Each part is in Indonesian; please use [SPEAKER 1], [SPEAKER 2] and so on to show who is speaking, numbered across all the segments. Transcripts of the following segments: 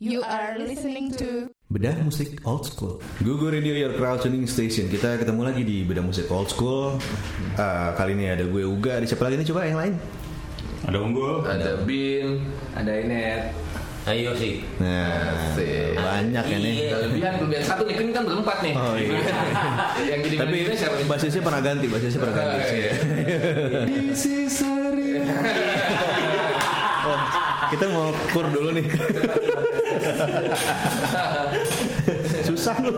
[SPEAKER 1] You are listening to
[SPEAKER 2] Bedah musik old school.
[SPEAKER 3] Google Radio Your Crowd Tuning Station Kita ketemu lagi di Beda Musik Old School Eh, Kali ini ada gue Uga Ada siapa lagi nih coba yang lain?
[SPEAKER 4] Ada unggul.
[SPEAKER 5] ada bin ada inet
[SPEAKER 6] Ayo sih.
[SPEAKER 3] Nah,
[SPEAKER 5] Asik.
[SPEAKER 3] banyak ya nih
[SPEAKER 6] Iya.
[SPEAKER 5] kelebihan kelebihan satu nih Nah, kan kan berempat nih
[SPEAKER 3] Oh, iya.
[SPEAKER 5] yang jadi
[SPEAKER 3] Tapi Iya.
[SPEAKER 5] manajernya siapa nih
[SPEAKER 3] basisnya pernah ganti Basisnya pernah ganti
[SPEAKER 5] Ah, iya.
[SPEAKER 3] Oh, Kita mau kur dulu nih Susah lu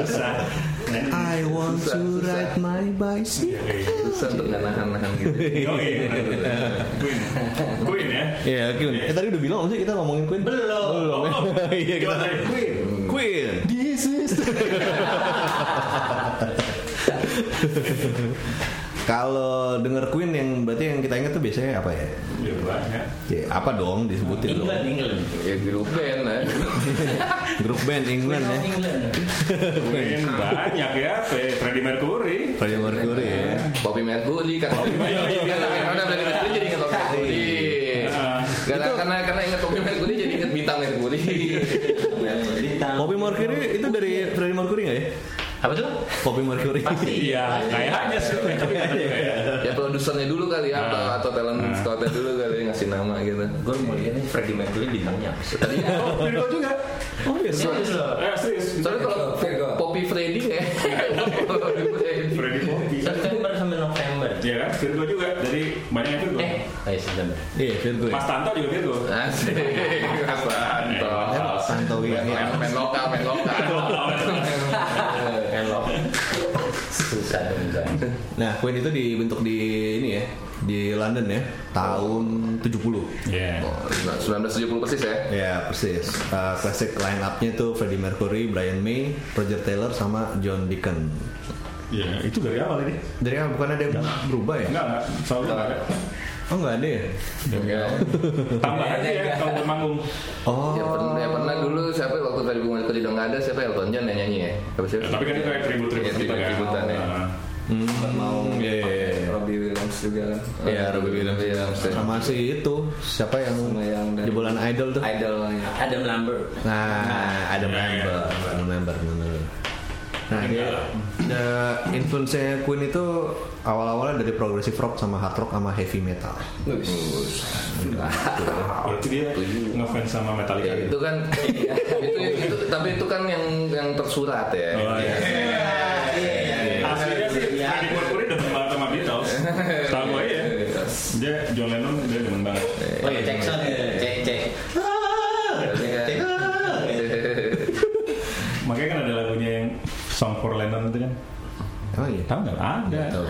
[SPEAKER 4] Susah. Nah,
[SPEAKER 3] I want to ride my bicycle
[SPEAKER 5] susah untuk nggak nahan nahan gitu
[SPEAKER 4] yo, iya, bener, bener. Queen. Queen ya.
[SPEAKER 3] Ya, Queen. Eh, tadi udah bilang nggak sih kita ngomongin Queen?
[SPEAKER 4] Belum.
[SPEAKER 3] Belum. ya?
[SPEAKER 4] Belum.
[SPEAKER 3] Iya, kita
[SPEAKER 4] Gimana?
[SPEAKER 3] Queen. Queen. This is Kalau denger Queen yang berarti yang kita ingat tuh biasanya apa ya?
[SPEAKER 4] Iya, banyak.
[SPEAKER 3] Ya, apa dong disebutin dong.
[SPEAKER 6] England, England.
[SPEAKER 5] ya grup band lah
[SPEAKER 3] Grup band England ya.
[SPEAKER 6] England.
[SPEAKER 4] Queen banyak ya. Fe- Freddie Mercury.
[SPEAKER 3] Freddie Mercury ya.
[SPEAKER 5] Bobby Mercury kan Bobby Mercury karena Freddie Mercury jadi ingat Bobby Mercury
[SPEAKER 4] Nah,
[SPEAKER 5] karena karena karena ingat Bobby Mercury jadi ingat bintang Mercury
[SPEAKER 6] Bintang.
[SPEAKER 3] Bobby Mercury itu dari
[SPEAKER 6] Iya.
[SPEAKER 3] Freddie Mercury nggak ya?
[SPEAKER 6] Apa tuh?
[SPEAKER 3] Bobby Mercury. Oh,
[SPEAKER 4] Iya, kayaknya sih. Tapi nggak tahu ya.
[SPEAKER 5] ya produsernya dulu kali ya atau atau talent scoutnya dulu kali ngasih nama gitu
[SPEAKER 6] Gue mau lihat nih Freddie Mercury bintangnya. apa sih.
[SPEAKER 4] Oh, Virgo juga.
[SPEAKER 3] Oh, iya.
[SPEAKER 6] Serius loh.
[SPEAKER 4] Eh, serius.
[SPEAKER 5] soalnya kalau Poppy Freddy ya Poppy Freddy
[SPEAKER 4] Freddie Bobby.
[SPEAKER 6] September sampai November.
[SPEAKER 4] Iya kan, Virgo juga. Jadi banyak yang Virgo.
[SPEAKER 6] Eh, ayo September.
[SPEAKER 3] Iya, Virgo. ya.
[SPEAKER 4] Mas Tanto juga Virgo.
[SPEAKER 5] Asik, Mas Tanto.
[SPEAKER 3] Santo
[SPEAKER 5] Main-
[SPEAKER 3] Wiyangi.
[SPEAKER 5] main- main lokal, main lokal.
[SPEAKER 6] Kan lo. Susah dong enggak.
[SPEAKER 3] Nah, Queen itu dibentuk di ini ya, di London ya, tahun 70.
[SPEAKER 4] Iya.
[SPEAKER 5] Oh, 1970 persis ya.
[SPEAKER 3] Ya persis. Uh, classic line up-nya tuh Freddie Mercury, Brian May, Roger Taylor sama John Deacon.
[SPEAKER 4] Iya, itu dari awal ini.
[SPEAKER 3] Dari awal bukan ada yang berubah ya?
[SPEAKER 4] Enggak, enggak. Selalu enggak ada.
[SPEAKER 3] Oh nggak ada ya?
[SPEAKER 4] Tambah aja ya kalau buat manggung.
[SPEAKER 3] Oh.
[SPEAKER 5] Ya pernah, ya pernah dulu siapa waktu tadi bunga tadi dong ada siapa Elton John yang nyanyi ya? Apa sih?
[SPEAKER 4] Tapi kan itu kayak tribut-tribut
[SPEAKER 5] Iya,
[SPEAKER 4] gitu kan.
[SPEAKER 5] tribut-tributan ya. Iya,
[SPEAKER 4] Nah,
[SPEAKER 3] mau ya, ya, ya, ya.
[SPEAKER 7] Robbie Williams juga kan
[SPEAKER 3] Ya, Robbie Williams.
[SPEAKER 5] Williams. ya.
[SPEAKER 3] Sama si itu siapa yang,
[SPEAKER 7] Sama yang dari-
[SPEAKER 3] jebolan idol tuh?
[SPEAKER 7] idolnya
[SPEAKER 6] Adam Lambert.
[SPEAKER 3] Nah, ada
[SPEAKER 4] Ya,
[SPEAKER 3] member, ada member, member. Nah,
[SPEAKER 4] Enggak
[SPEAKER 3] dia
[SPEAKER 4] lah.
[SPEAKER 3] the influence-nya Queen itu awal-awalnya dari progressive rock sama hard rock sama heavy metal.
[SPEAKER 4] Berarti dia ngefans sama Metallica. gitu.
[SPEAKER 5] Ya, itu kan itu, itu tapi itu kan yang yang tersurat ya.
[SPEAKER 4] Oh, iya.
[SPEAKER 6] Iya.
[SPEAKER 4] Aslinya sih Freddie Mercury demen banget sama Beatles. Tahu gue ya. Dia John Lennon dia demen banget.
[SPEAKER 6] Oh iya, cek sound ya. Cek cek. Cek.
[SPEAKER 4] Makanya kan ada lagunya yang Song for Lennon itu kan.
[SPEAKER 3] Emang iya?
[SPEAKER 4] Tahu nggak? Ada.
[SPEAKER 3] Tahu.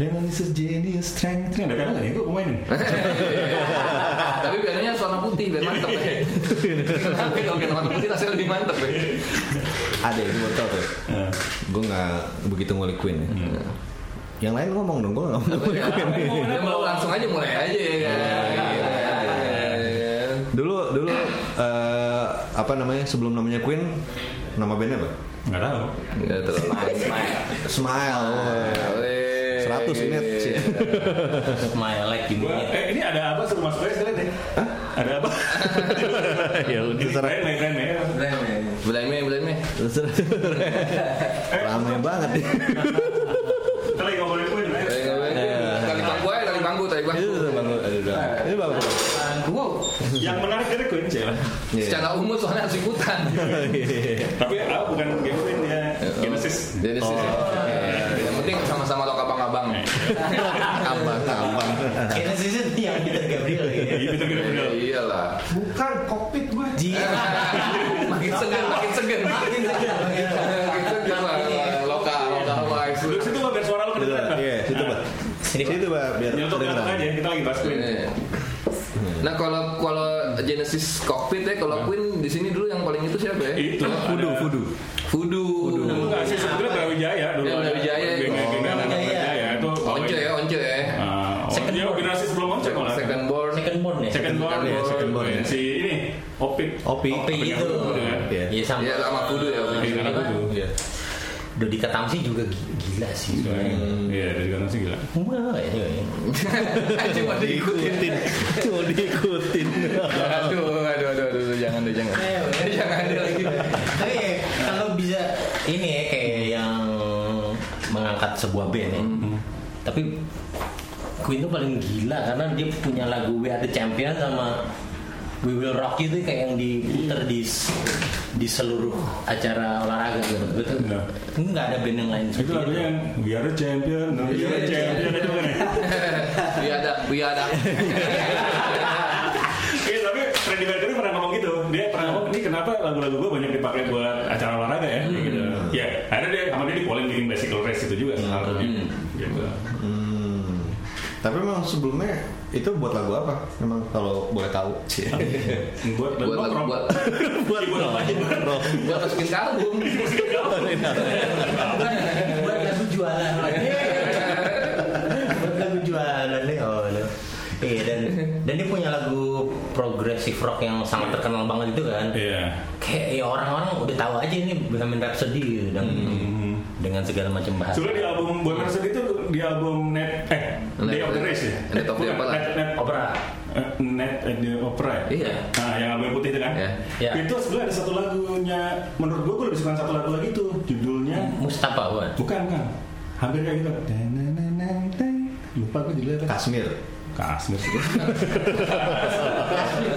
[SPEAKER 4] Lennon is a genius, strength. Itu ada kan nggak? Gue mainin.
[SPEAKER 5] Ah, tapi biasanya warna putih biar mantep ya. Tapi kalau biar warna putih rasanya lebih mantep ya.
[SPEAKER 3] Ada itu baru tahu tuh.
[SPEAKER 4] Nah,
[SPEAKER 3] Gue nggak begitu ngulik Queen ya. Yang lain ngomong dong, gue nggak mau ngulik Queen.
[SPEAKER 5] Ya, mau langsung aja mulai aja ya kan.
[SPEAKER 3] Dulu, dulu eh, apa namanya sebelum namanya Queen, nama bandnya apa?
[SPEAKER 4] Nggak tahu.
[SPEAKER 5] Ya, terlalu smile.
[SPEAKER 3] Smile.
[SPEAKER 5] Wih.
[SPEAKER 3] 100 ini, sih.
[SPEAKER 6] Smile like you
[SPEAKER 4] Gua,
[SPEAKER 6] mean it.
[SPEAKER 4] eh ini ada apa suruh mas Boy sekalian deh? Ada apa? ya udah.
[SPEAKER 3] terserah.
[SPEAKER 4] Keren, keren, keren, keren.
[SPEAKER 7] Brand ya
[SPEAKER 5] Bulan Mei, bulan Mei.
[SPEAKER 3] Ramai banget.
[SPEAKER 4] Kita lagi ngomongin Queen, keren.
[SPEAKER 5] Tali bangku aja, Iya. tali bangku, tali bangku.
[SPEAKER 3] Itu udah bangun, aduh, udah. Ini bagus.
[SPEAKER 4] Yang menarik dari Queen sih lah.
[SPEAKER 3] Iya.
[SPEAKER 5] Secara umum soalnya harus ikutan.
[SPEAKER 4] Tapi ah, bukan game Queen ya Genesis.
[SPEAKER 5] Jadi sih. Iya. Yang penting sama-sama lo abang-abang.
[SPEAKER 3] Tambah, tambah.
[SPEAKER 6] Kayaknya sih sih yang Peter Gabriel ya.
[SPEAKER 4] Iya betul betul.
[SPEAKER 5] Ya,
[SPEAKER 4] betul.
[SPEAKER 5] iyalah.
[SPEAKER 2] Bukan kokpit gue.
[SPEAKER 3] Iya,
[SPEAKER 5] makin segan, makin segan. Makin Iya. segan. Makin segan lah. Lokal, lokal wise.
[SPEAKER 4] Duduk situ Pak, biar suara lo kedengeran. Pak. Nah,
[SPEAKER 3] Iya, situ bah.
[SPEAKER 6] Sini, Pak.
[SPEAKER 3] Situ bah, biar
[SPEAKER 4] Nyetok nyetok aja
[SPEAKER 3] kedengeran.
[SPEAKER 4] kita lagi bahas Queen.
[SPEAKER 5] Iya. Nah kalau kalau Genesis cockpit ya kalau Queen di sini dulu yang paling itu siapa ya?
[SPEAKER 4] Itu Fudu Fudu.
[SPEAKER 5] Fudu.
[SPEAKER 4] Enggak sih sebetulnya Brawijaya dulu.
[SPEAKER 5] Ya, Brawijaya.
[SPEAKER 4] Genggengan anak
[SPEAKER 6] Brawijaya.
[SPEAKER 4] Brawijaya itu.
[SPEAKER 5] Once ya, Once ya.
[SPEAKER 4] Second Dia generasi sebelum Once kalau nggak salah.
[SPEAKER 5] Second born.
[SPEAKER 6] Second born ya.
[SPEAKER 4] Second born.
[SPEAKER 3] Iya, second born, ya.
[SPEAKER 4] Si ini Opik.
[SPEAKER 3] Opi.
[SPEAKER 6] Kopi itu.
[SPEAKER 4] Iya.
[SPEAKER 6] Iya sama.
[SPEAKER 5] Iya sama Fudu ya.
[SPEAKER 4] Genggengan anak Fudu.
[SPEAKER 3] Iya.
[SPEAKER 6] Dodi Katamsi juga gi- gila sih.
[SPEAKER 4] Soalnya, Iya, dari kanan sih gila.
[SPEAKER 6] Wah, anyway.
[SPEAKER 5] Cuma diikutin.
[SPEAKER 3] Cuma diikutin.
[SPEAKER 5] Aduh, aduh, aduh, aduh, aduh, jangan deh, jangan.
[SPEAKER 6] Ayo,
[SPEAKER 5] Iya. Jangan ada lagi.
[SPEAKER 6] Iya, Tapi ya, kalau bisa ini ya kayak yang mengangkat sebuah band ya. Tapi Queen tuh paling gila karena dia punya lagu We Are The Champion sama We Will Rock itu kayak yang diputer di di seluruh acara olahraga gitu. Betul.
[SPEAKER 4] Iya.
[SPEAKER 6] Nggak ada band yang lain
[SPEAKER 4] Itu
[SPEAKER 6] seperti
[SPEAKER 4] lagunya yang We Are The Champion, no, We Are The Champion itu bukan ya?
[SPEAKER 5] Biada, biada.
[SPEAKER 4] Iya, tapi Freddie Mercury pernah ngomong gitu. Dia pernah ngomong, ini kenapa lagu-lagu gue banyak dipakai buat acara olahraga ya? Kayak Gitu.
[SPEAKER 5] Hmm.
[SPEAKER 4] Ya, akhirnya dia sama dia dipolin bikin bicycle race itu juga salah satunya. Gitu.
[SPEAKER 3] Hmm. Tapi memang sebelumnya itu buat lagu apa? Memang kalau boleh tahu sih.
[SPEAKER 4] Buat
[SPEAKER 5] Buat
[SPEAKER 4] rock.
[SPEAKER 5] lagu, buat
[SPEAKER 3] buat
[SPEAKER 4] Buat apa?
[SPEAKER 3] rock.
[SPEAKER 5] buat masukin ke album.
[SPEAKER 6] buat lagu jualan buat lagu jualan nih oh no. iya dan dan dia punya lagu progressive rock yang sangat terkenal banget itu kan
[SPEAKER 4] Iya.
[SPEAKER 6] kayak ya orang-orang udah tahu aja ini Bohemian Rhapsody gitu dan dengan segala macam bahasa
[SPEAKER 4] Sebenarnya Hmm. di album Bohemian Rhapsody itu di album Net eh Day of the Race ya.
[SPEAKER 5] Net of the
[SPEAKER 4] Bukan,
[SPEAKER 5] apa lah?
[SPEAKER 4] Net Net
[SPEAKER 6] opera
[SPEAKER 4] eh, Net at the Opera. ya?
[SPEAKER 5] Iya.
[SPEAKER 4] Nah, yang album putih itu kan.
[SPEAKER 5] Iya.
[SPEAKER 6] Iya.
[SPEAKER 4] Itu sebenarnya ada satu lagunya menurut gue gue lebih suka satu lagu lagi tuh judulnya
[SPEAKER 6] Mustafa bukan
[SPEAKER 4] bukan kan. Hampir kayak gitu. Tenenenenten. Lupa gue judulnya apa.
[SPEAKER 3] Kasmir.
[SPEAKER 4] Kasmir.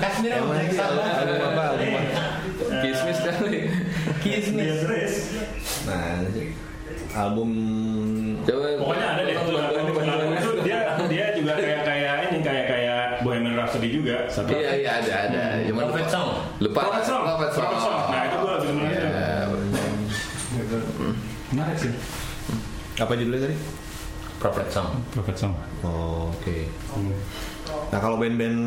[SPEAKER 6] Kasmir
[SPEAKER 3] Emang itu
[SPEAKER 6] ya.
[SPEAKER 3] album apa? Album apa?
[SPEAKER 5] Kismis kali.
[SPEAKER 4] Day of the Race.
[SPEAKER 3] Nah, album
[SPEAKER 5] Coba
[SPEAKER 4] Pokoknya ada deh.
[SPEAKER 5] Tolong
[SPEAKER 4] Itu
[SPEAKER 5] buat
[SPEAKER 4] lagu-
[SPEAKER 5] gua nih, buat
[SPEAKER 4] lagu
[SPEAKER 5] gua
[SPEAKER 4] itu
[SPEAKER 5] nih.
[SPEAKER 4] dia dia juga kayak kayak ini kayak kayak Bohemian Rhapsody juga. Satu
[SPEAKER 5] Iya, iya ada, ada. Cuman lupa.
[SPEAKER 6] Prophet Song.
[SPEAKER 5] Lupa.
[SPEAKER 4] Prophet Song.
[SPEAKER 5] Prophet Song.
[SPEAKER 4] Prophet Song. Nah, itu gua lebih seneng
[SPEAKER 5] Iya.
[SPEAKER 4] Menarik sih.
[SPEAKER 3] apa judulnya tadi?
[SPEAKER 6] Prophet Song
[SPEAKER 4] Prophet Song.
[SPEAKER 3] Oh, Oke. Nah kalau band-band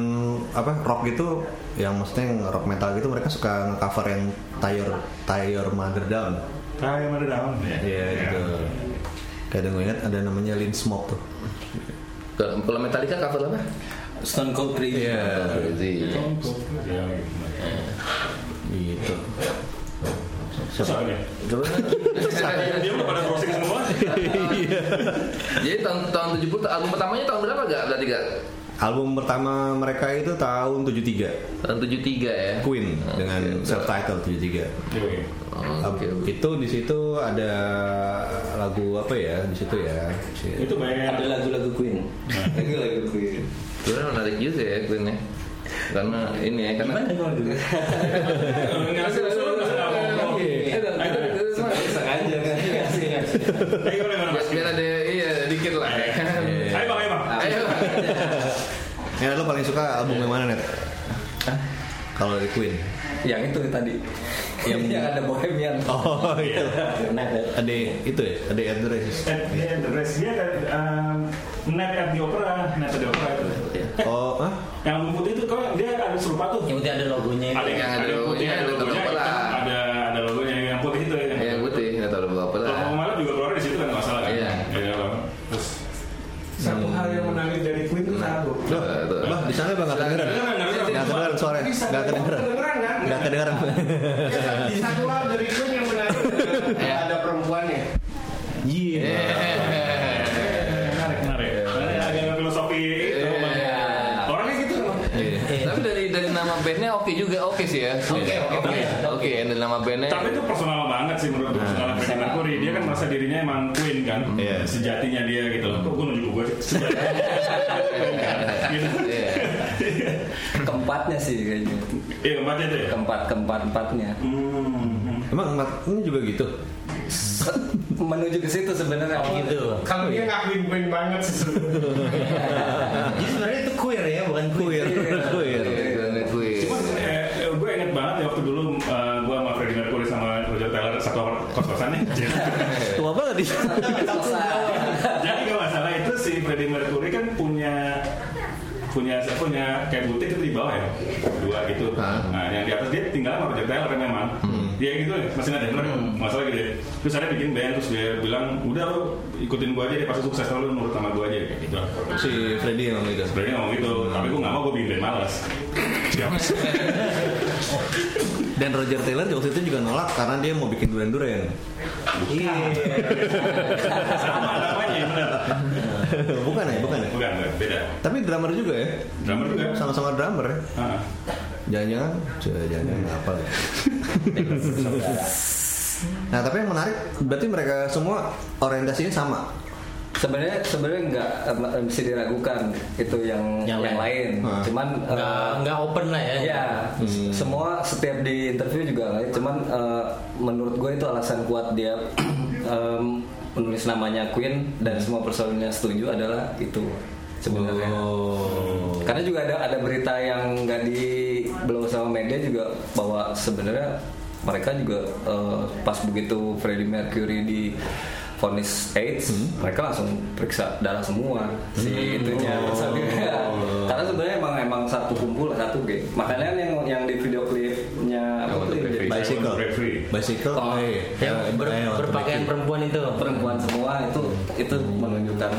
[SPEAKER 3] apa rock gitu, yang maksudnya yang rock metal gitu mereka suka nge-cover yang Tire Tire Mother Down.
[SPEAKER 4] Kayak mana daun.
[SPEAKER 3] Iya gitu. Kayak ada gue ingat ada namanya Lin Smoke tuh.
[SPEAKER 5] Kalau kalau Metallica cover apa?
[SPEAKER 6] Stone Cold Crazy
[SPEAKER 5] Crazy.
[SPEAKER 4] Iya.
[SPEAKER 3] Gitu.
[SPEAKER 4] Susah ya. Dia udah pada crossing semua.
[SPEAKER 5] Iya. Jadi tahun tahun 70 album pertamanya tahun berapa gak? Berarti gak?
[SPEAKER 3] Album pertama mereka itu tahun 73
[SPEAKER 5] Tahun 73 ya.
[SPEAKER 3] Queen dengan self titled 73.
[SPEAKER 4] Oke.
[SPEAKER 5] Oh, Oke. oke.
[SPEAKER 3] Itu di situ ada lagu apa ya di situ ya?
[SPEAKER 4] Itu
[SPEAKER 6] ada
[SPEAKER 4] banyak.
[SPEAKER 6] lagu-lagu Queen
[SPEAKER 3] lagu Queen.
[SPEAKER 5] Sebenarnya menarik juga ya Queen ya. Karena ini ya karena
[SPEAKER 6] gimana kalau gitu sengaja kan
[SPEAKER 4] Ayo gimana mas?
[SPEAKER 5] Biar ada iya dikit lah ya kan.
[SPEAKER 4] Ayo bang, ayo bang.
[SPEAKER 5] Ayo.
[SPEAKER 3] Ya lo paling suka album yang mana net? Kalau dari Queen.
[SPEAKER 7] yang itu tadi yang,
[SPEAKER 6] Iya.
[SPEAKER 7] ada bohemian
[SPEAKER 3] Oh itu. Ada itu ya, ada Ed Dress.
[SPEAKER 4] At the end, the rest dia ada, um, net at the opera, net at the opera itu.
[SPEAKER 3] Oh, ah?
[SPEAKER 4] Yang album putih itu kok dia ada serupa tuh.
[SPEAKER 6] yang penting ada logonya itu.
[SPEAKER 4] Ada yang ada putih, ada logonya, ada ada logonya yang putih itu yang
[SPEAKER 5] Yang putih nggak tahu apa apa lah.
[SPEAKER 4] Kalau mau malam juga keluar di situ kan nggak masalah kan?
[SPEAKER 5] Iya.
[SPEAKER 4] Iya. Bang. Terus
[SPEAKER 2] Satu hal yang menarik dari Queen itu lagu.
[SPEAKER 3] Loh,
[SPEAKER 5] Tuh.
[SPEAKER 3] loh, di sana bang nggak kedengeran,
[SPEAKER 4] Kedengeran, kedengeran.
[SPEAKER 3] nggak kedengeran suara, nggak kedengeran,
[SPEAKER 2] kan?
[SPEAKER 3] nggak kedengeran.
[SPEAKER 2] Di satu hal dari Queen yang menarik ada perempuannya.
[SPEAKER 6] Iya.
[SPEAKER 4] menarik, menarik. Karena Ada yang filosofi itu. Bang. Orangnya gitu. Bang.
[SPEAKER 5] Iya. Eh, Tapi dari dari nama bandnya oke juga oke sih ya. Oke oke oke. Dari nama bandnya.
[SPEAKER 4] Tapi itu personal banget sih menurut gue personal Freddie Mercury. Dia kan merasa dirinya emang queen kan,
[SPEAKER 3] Iya.
[SPEAKER 4] sejatinya dia gitu loh. Kok gue nunjuk gue sih? gitu.
[SPEAKER 5] Iya.
[SPEAKER 7] keempatnya sih kayaknya
[SPEAKER 4] Iya, keempatnya tuh. ya?
[SPEAKER 7] keempat keempat empatnya
[SPEAKER 4] Hmm.
[SPEAKER 3] Emang Mat, ini juga gitu.
[SPEAKER 7] Se- menuju ke situ sebenarnya
[SPEAKER 6] Gitu.
[SPEAKER 2] Kalau dia ngakuin Queen banget sih sebenarnya.
[SPEAKER 6] Jadi sebenarnya itu queer ya, bukan queer. Iya.
[SPEAKER 3] Queer, queer.
[SPEAKER 5] Dari Queen.
[SPEAKER 4] Cuman eh, eh, gue inget banget ya waktu dulu eh, gue sama Freddie Mercury sama Roger Taylor satu kos-kosan nih.
[SPEAKER 3] Tua banget di
[SPEAKER 4] Jadi gak masalah itu si Freddie Mercury kan punya punya punya kayak butik itu di bawah ya dua gitu. Nah yang di atas dia tinggal sama Roger Taylor memang. Dia gitu ya, masih ada Taylor masalah gitu. ya. Terus ada bikin band terus dia bilang udah lo ikutin gua aja deh pasti sukses lo nurut sama gua aja kayak gitu.
[SPEAKER 3] Si Freddy emang gitu.
[SPEAKER 4] Sebenarnya ngomong gitu, tapi gua nggak mau gua bikin band malas. Siapa sih?
[SPEAKER 3] Dan Roger Taylor waktu itu juga nolak karena dia mau bikin duren-duren.
[SPEAKER 6] Iya.
[SPEAKER 4] sama namanya ya, benar
[SPEAKER 3] bukan ya, bukan ya.
[SPEAKER 4] bukan bukan, beda
[SPEAKER 3] Tapi drummer juga ya.
[SPEAKER 4] drummer juga
[SPEAKER 3] Sama-sama drummer ya.
[SPEAKER 4] Ah.
[SPEAKER 3] Jangan-jangan, jangan-jangan
[SPEAKER 4] Hmm.
[SPEAKER 3] apa ya. Nah tapi yang menarik berarti mereka semua orientasinya sama.
[SPEAKER 7] Sebenarnya sebenarnya nggak eh, bisa diragukan itu yang
[SPEAKER 6] Yang
[SPEAKER 7] yang, lain.
[SPEAKER 3] Hmm.
[SPEAKER 7] Cuman eh,
[SPEAKER 6] Nggak nggak open lah ya.
[SPEAKER 7] Ya, semua setiap di interview juga nggak ya. Cuman eh, menurut gue itu alasan kuat dia em, menulis namanya Queen dan semua personilnya setuju adalah itu sebenarnya.
[SPEAKER 3] Oh.
[SPEAKER 4] Oh.
[SPEAKER 7] Karena juga ada ada berita yang nggak di belum sama media juga bahwa sebenarnya mereka juga eh, pas begitu Freddie Mercury di vonis AIDS, mereka langsung periksa darah semua si itunya personilnya. Karena sebenarnya emang emang satu kumpul satu geng. Makanya yang yang di video klipnya apa tuh yang jadi
[SPEAKER 3] Bicycle, bicycle.
[SPEAKER 7] Oh,
[SPEAKER 3] eh,
[SPEAKER 4] iya.
[SPEAKER 6] Yang
[SPEAKER 3] eh,
[SPEAKER 6] Ya, ber-
[SPEAKER 3] eh, waktu
[SPEAKER 6] berpakaian
[SPEAKER 3] bikin.
[SPEAKER 6] perempuan itu.
[SPEAKER 7] perempuan semua itu itu menunjukkan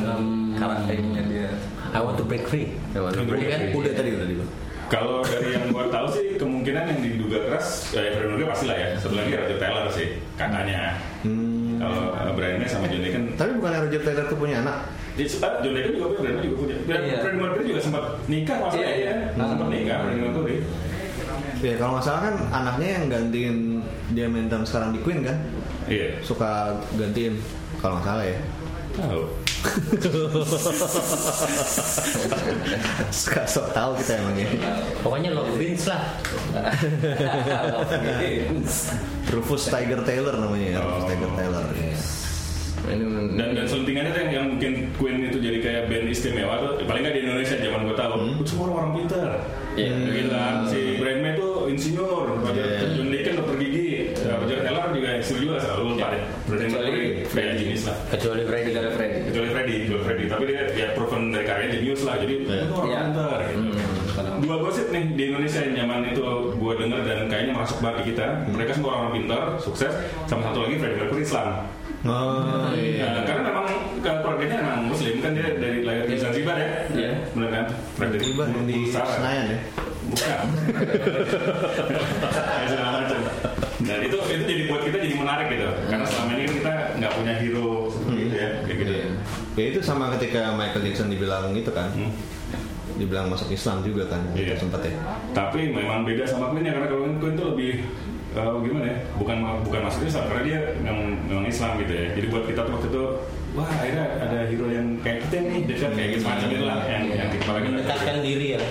[SPEAKER 7] karakternya dia.
[SPEAKER 6] I want to break free.
[SPEAKER 5] Ya,
[SPEAKER 6] Iya kan?
[SPEAKER 4] Bukan?
[SPEAKER 3] Udah tadi udah dulu.
[SPEAKER 4] Kalau dari yang gua tahu sih kemungkinan yang diduga keras eh Brian Mulroney pasti lah ya. Satu lagi Roger Taylor sih katanya.
[SPEAKER 7] Hmm.
[SPEAKER 4] Kalau eh, Brian-nya sama John Deacon
[SPEAKER 3] Tapi bukan Roger Taylor tuh punya anak.
[SPEAKER 4] dia sempat John Deacon juga punya Brian Mulroney juga punya. Dan
[SPEAKER 7] Iya.
[SPEAKER 4] Brian Mulroney juga sempat nikah masalahnya
[SPEAKER 7] Iya,
[SPEAKER 4] ya.
[SPEAKER 7] iya.
[SPEAKER 4] Sempat nikah Brian Mulroney.
[SPEAKER 3] Ya kalau nggak salah kan anaknya yang gantiin dia main drum sekarang di Queen kan
[SPEAKER 4] Iya.
[SPEAKER 3] suka gantiin kalau nggak salah ya.
[SPEAKER 4] Tahu.
[SPEAKER 3] Suka sok tahu kita emang ya.
[SPEAKER 6] Pokoknya love wins lah.
[SPEAKER 3] Rufus Tiger Taylor namanya ya. Rufus
[SPEAKER 4] Oh.
[SPEAKER 3] Tiger Taylor. ya.
[SPEAKER 5] Ini
[SPEAKER 4] Dan dan selentingannya tuh yang, yang mungkin Queen itu jadi kayak band istimewa tuh ya paling nggak di Indonesia zaman gua tahu. Semua orang pintar. Iya. Bilang si Brian May tuh insinyur, Roger
[SPEAKER 3] Iya.
[SPEAKER 4] John Deacon dokter gigi, Roger Taylor juga insinyur juga selalu. Brian Mulroney kayak jenis lah.
[SPEAKER 6] Kecuali Freddy.
[SPEAKER 7] Dari Freddy.
[SPEAKER 4] kecuali Freddy, kecuali Freddy. Tapi dia ya proven dari karyanya jenius lah. Jadi itu orang
[SPEAKER 7] Iya.
[SPEAKER 4] pintar. gitu. Dua gosip nih di Indonesia yang zaman itu gue dengar dan kayaknya masuk banget di kita. Mereka semua orang pintar, sukses. Sama satu lagi Freddie Mercury Islam.
[SPEAKER 3] Oh iya.
[SPEAKER 4] Nah, karena memang ke keluarganya emang Muslim kan dia dari lahir di Zanzibar ya. Iya. Benar kan? Freddie
[SPEAKER 3] Tiba di Senayan ya.
[SPEAKER 4] Bukan. Ya, segala macam. Dan itu itu jadi buat kita jadi menarik gitu. Karena selama ini kan kita nggak punya hero seperti itu ya, kayak gitu.
[SPEAKER 3] Iya. Ya itu sama ketika Michael Jackson dibilang itu kan.
[SPEAKER 4] Hmm.
[SPEAKER 3] Dibilang masuk Islam juga kan.
[SPEAKER 4] Iya.
[SPEAKER 3] Sempat ya.
[SPEAKER 4] tapi memang beda sama Queen ya karena kalau Queen itu lebih eh, gimana ya bukan bukan masuk Islam karena dia memang, memang Islam gitu ya jadi buat kita tuh waktu itu wah akhirnya ada hero yang kayak kita nih dekat kayak gitu macam itu lah yang yang kita lagi
[SPEAKER 6] Mendekatkan diri ya.